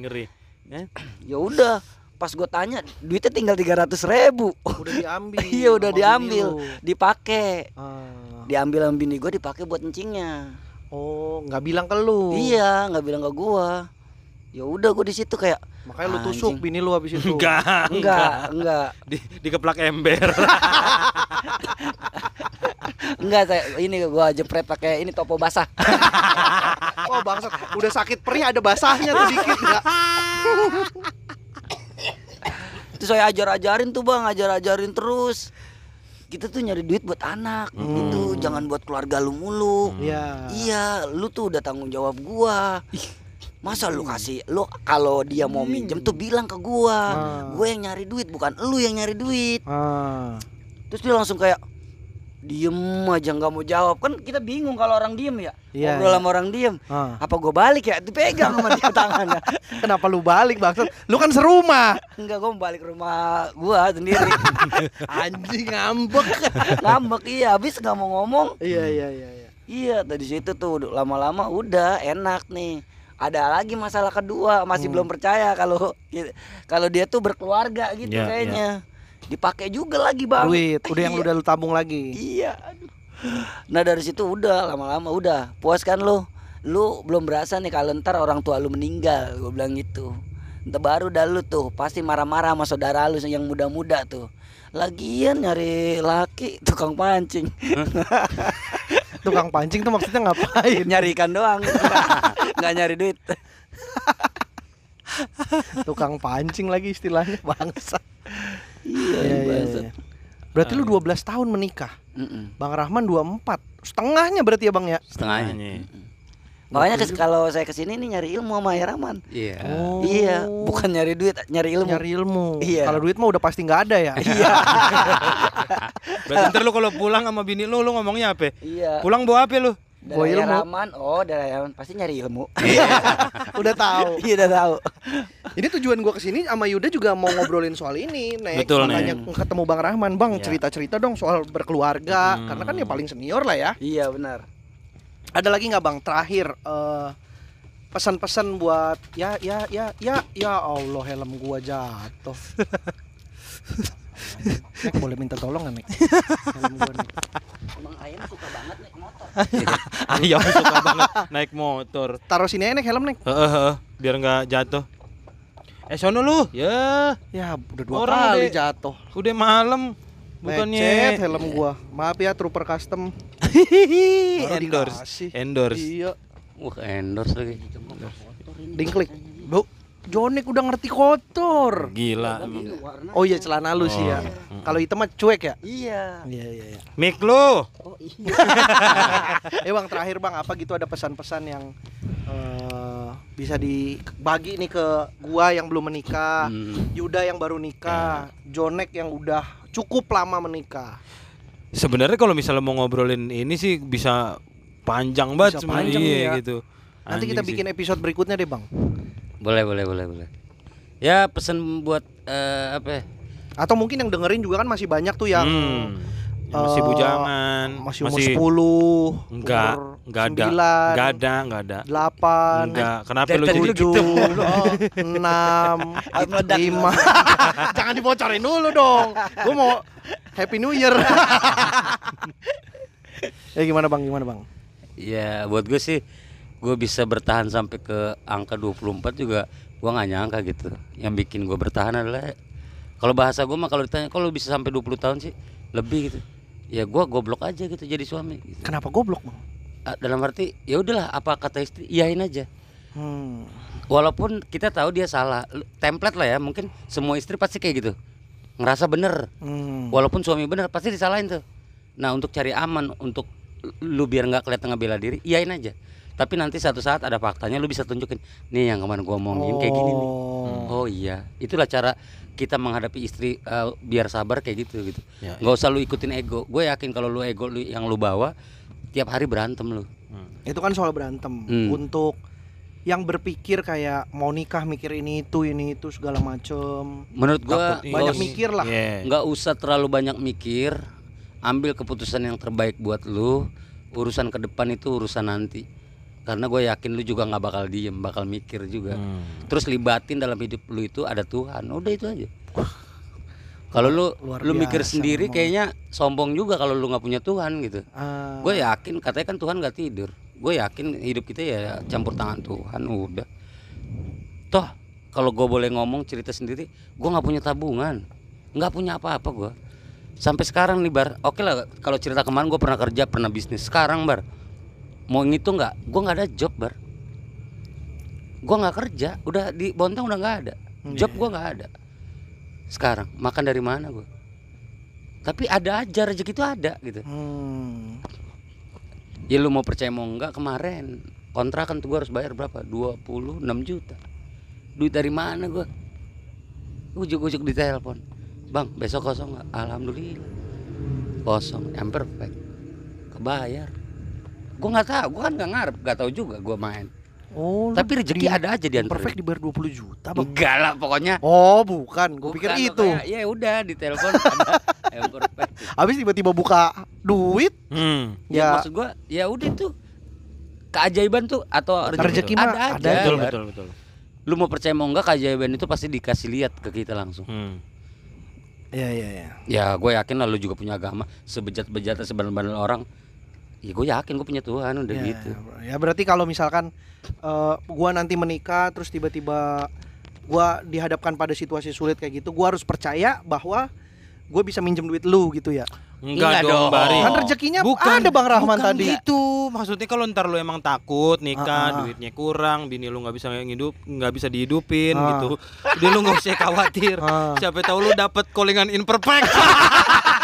ngeri.
ya udah pas gue tanya duitnya tinggal tiga ratus ribu
Udah diambil.
Iya, udah
sama bini
diambil.
lu.
dipakai
Ah.
diambil sama bini gue dipakai buat encingnya
Oh, nggak bilang ke lu.
iya nggak bilang ke gua ya udah gue di situ kayak
Makanya lu tusuk
Anjing.
bini lu habis itu.
Enggak, enggak.
enggak enggak
Di, dikeplak ember.
enggak saya ini gua jepret pakai ini topo basah
Oh, bangsat. Udah sakit perih ada basahnya tuh dikit enggak.
Terus saya ajar-ajarin tuh bang, ajar-ajarin terus. Kita tuh nyari duit buat anak,
Hmm.
gitu. Jangan buat keluarga lu mulu.
Iya.
Iya, lu tuh udah tanggung jawab gua. Masa lu kasih, lu kalau dia mau minjem tuh bilang ke gua.
Hmm. Ah.
Gue yang nyari duit, bukan lu yang nyari duit.
Ah.
Terus dia langsung kayak diem aja nggak mau jawab kan kita bingung kalau orang diem ya
Iya.
ngobrol sama orang diem
Ah.
apa gue balik ya dipegang sama dia tangannya
Kenapa lu balik bangsat? Lu kan serumah.
enggak gue balik ke rumah gua sendiri
Anjing ngambek.
ngambek iya habis nggak mau ngomong
Iya, iya, iya, iya.
Iya dari situ tuh udah- lama-lama udah enak nih. Ada lagi masalah kedua masih
Hmm.
belum percaya kalau kalau dia tuh berkeluarga gitu
Ya,
kayaknya. Dipakai juga lagi bang.
Iya, Duit, udah yang udah lu tabung lagi.
Iya. aduh. Nah dari situ udah lama-lama udah puas kan lo. Lu belum berasa nih kalau ntar orang tua lu meninggal gue bilang gitu. Ntar baru dah lu tuh pasti marah-marah sama saudara lu yang muda-muda tuh. Lagian nyari laki tukang pancing.
Tukang pancing tuh maksudnya ngapain?
nyari ikan doang nggak nyari duit
Tukang pancing lagi istilahnya bangsa. Iya,
iya
iya,
bangsat.
iya. Berarti lu 12 tahun menikah.
Mm-mm.
Bang Rahman 24. Setengahnya berarti ya, Bang ya?
setengahnya
makanya kes- kalau saya kesini nih nyari ilmu sama Heraman
iya
Oh.
iya bukan nyari duit nyari ilmu
nyari ilmu.
Iya.
Kalau duit mah udah pasti nggak ada ya.
Berarti ntar lu kalau pulang sama bini lu lu ngomongnya apa?
iya
Pulang bawa apa lu?
Bawa
dari
ilmu.
Heraman oh dari Heraman pasti nyari ilmu
udah tahu.
iya udah tahu
Ini tujuan gua kesini sama Yuda juga mau ngobrolin soal ini, Nek.
Betul,
Makanya ketemu Bang Rahman, Bang
Iya.
cerita-cerita dong soal berkeluarga,
Hmm.
karena kan ya paling senior lah ya.
iya benar
Ada lagi nggak Bang terakhir eh, pesan-pesan buat ya ya ya ya ya Allah helm gua jatuh. Nek boleh minta tolong nggak Nek? Helm gua Nek.
emang ayam suka banget naik motor
Ayam suka banget naik motor.
Taruh sini aja Nek helm Nek.
Heeh, heeh, biar nggak jatuh. Eh sono lu. Ya,
Ya udah dua
Orang
kali
udah-
jatuh.
udah malam.
Lecet
Bukannya
helm gua. Maaf ya trooper custom. Baru
endorse.
dikasih.
Endorse.
Iya.
wah endorse lagi
Dingklik. Bu, Jonik udah ngerti kotor.
Gila. emang.
warna
Oh iya celana lu sih ya.
Oh.
Kalau hitam mah cuek ya.
iya
Iya iya iya.
Mik lu.
oh iya
Eh Bang terakhir Bang apa gitu ada pesan-pesan yang eh, bisa dibagi nih ke gua yang belum menikah,
Hmm.
Yuda yang baru
Ya.
nikah, Jonek yang udah cukup lama menikah.
Sebenarnya kalau misalnya mau ngobrolin ini sih bisa panjang banget
Bisa
sebenarnya
panjang,
Iya,
iya.
gitu.
Nanti
Anjing
kita
sih.
bikin episode berikutnya deh Bang.
boleh boleh boleh boleh ya pesan buat eh, apa ya?
Atau mungkin yang dengerin juga kan masih banyak tuh yang
Hmm, yang masih
eh,
bujangan,
masih umur 10,
enggak,
umur
enggak ada,
9,
enggak ada, enggak ada.
8,
Enggak, kenapa
Dari
lu
tadi
jadi
lu gitu.
tujuh Oh, enam
Habis meledak.
lima jangan dibocorin dulu dong gue mau happy new year ya gimana bang gimana bang
Ya buat gue sih gue bisa bertahan sampai ke angka 24 juga gue nggak nyangka gitu. Yang bikin gue bertahan adalah kalau bahasa gue mah kalau ditanya kalau bisa sampai 20 tahun sih lebih gitu. Ya gue goblok aja gitu jadi suami. Gitu.
kenapa goblok bang
Ah, Dalam arti ya udahlah apa kata istri iyain aja.
hmm.
Walaupun kita tahu dia salah, Lu- template lah ya mungkin semua istri pasti kayak gitu. Ngerasa bener
Hmm.
walaupun suami bener pasti disalahin tuh nah untuk cari aman untuk lu biar nggak kelihatan ngebela diri iyain aja tapi nanti suatu saat ada faktanya lu bisa tunjukin nih yang kemarin gua omongin kayak gini nih oh iya itulah cara kita menghadapi istri eh, biar sabar kayak gitu gitu
Ya,
nggak usah lu ikutin ego gue yakin kalau lu ego lu yang lu bawa tiap hari berantem lu
Hmm.
itu kan soal berantem
Hmm.
untuk yang berpikir kayak mau nikah mikir ini itu ini itu segala macem
menurut gua
Takut ini.
banyak
nggak us-
mikir lah.
Iya.
nggak usah terlalu banyak mikir ambil keputusan yang terbaik buat lu urusan ke depan itu urusan nanti karena gue yakin lu juga nggak bakal diem bakal mikir juga
Hmm.
terus libatin dalam hidup lu itu ada Tuhan udah itu aja kalau lu
Luar
lu mikir
biasa memang.
sendiri kayaknya sombong juga kalau lu nggak punya Tuhan gitu
Ah,
gue yakin katanya kan Tuhan nggak tidur gue yakin hidup kita ya campur tangan Tuhan udah toh kalau gue boleh ngomong cerita sendiri gue nggak punya tabungan nggak punya apa-apa gue sampai sekarang nih bar oke lah kalau cerita kemarin gue pernah kerja pernah bisnis sekarang bar mau ngitung nggak gue nggak ada job bar gue nggak kerja udah di Bontang udah nggak ada job gue nggak ada sekarang makan dari mana gue tapi ada aja rezeki itu ada gitu
hmm.
Ya lu mau percaya mau enggak kemarin kontrakan tuh gua harus bayar berapa? 26 juta. Duit dari mana gua? Ujuk-ujuk di telepon. Bang, besok kosong nggak? Alhamdulillah. Kosong, yang perfect. Kebayar. Gua nggak tahu, gua kan nggak ngarep, nggak tahu juga gua main.
oh lu
Tapi
di-
rezeki ada aja di
perfect dibayar 20 juta bang
Enggak lah pokoknya.
oh bukan gue pikir
Bukan,
itu
pokoknya, Ya udah di telepon ada yang perfect.
habis tiba-tiba buka duit
Hmm.
Ya,
ya
maksud gua, ya udah tuh keajaiban tuh atau
Rezeki mah
ada aja.
ada.
Betul
Bar.
betul betul.
lu mau percaya mau enggak keajaiban itu pasti dikasih lihat ke kita langsung
Hmm.
ya ya ya
ya gue yakin lah lu juga punya agama sebejat-bejatnya sebanal-banal orang ya gue yakin gue punya Tuhan udah
Ya,
gitu
Ya berarti kalau misalkan eh, gua nanti menikah terus tiba-tiba gua dihadapkan pada situasi sulit kayak gitu, gua harus percaya bahwa gue bisa minjem duit lu gitu ya.
Enggak,
Enggak
dong,
dong.
Bari.
Kan rezekinya ada Bang Rahman
Oh. bukan
tadi.
gitu. Maksudnya kalau ntar lu emang takut nikah,
Ah, ah.
duitnya kurang, bini lu nggak bisa ngidup, nggak bisa dihidupin
Ah.
gitu. Jadi lu nggak usah khawatir.
Ah.
Siapa tahu lu dapet callingan imperfect.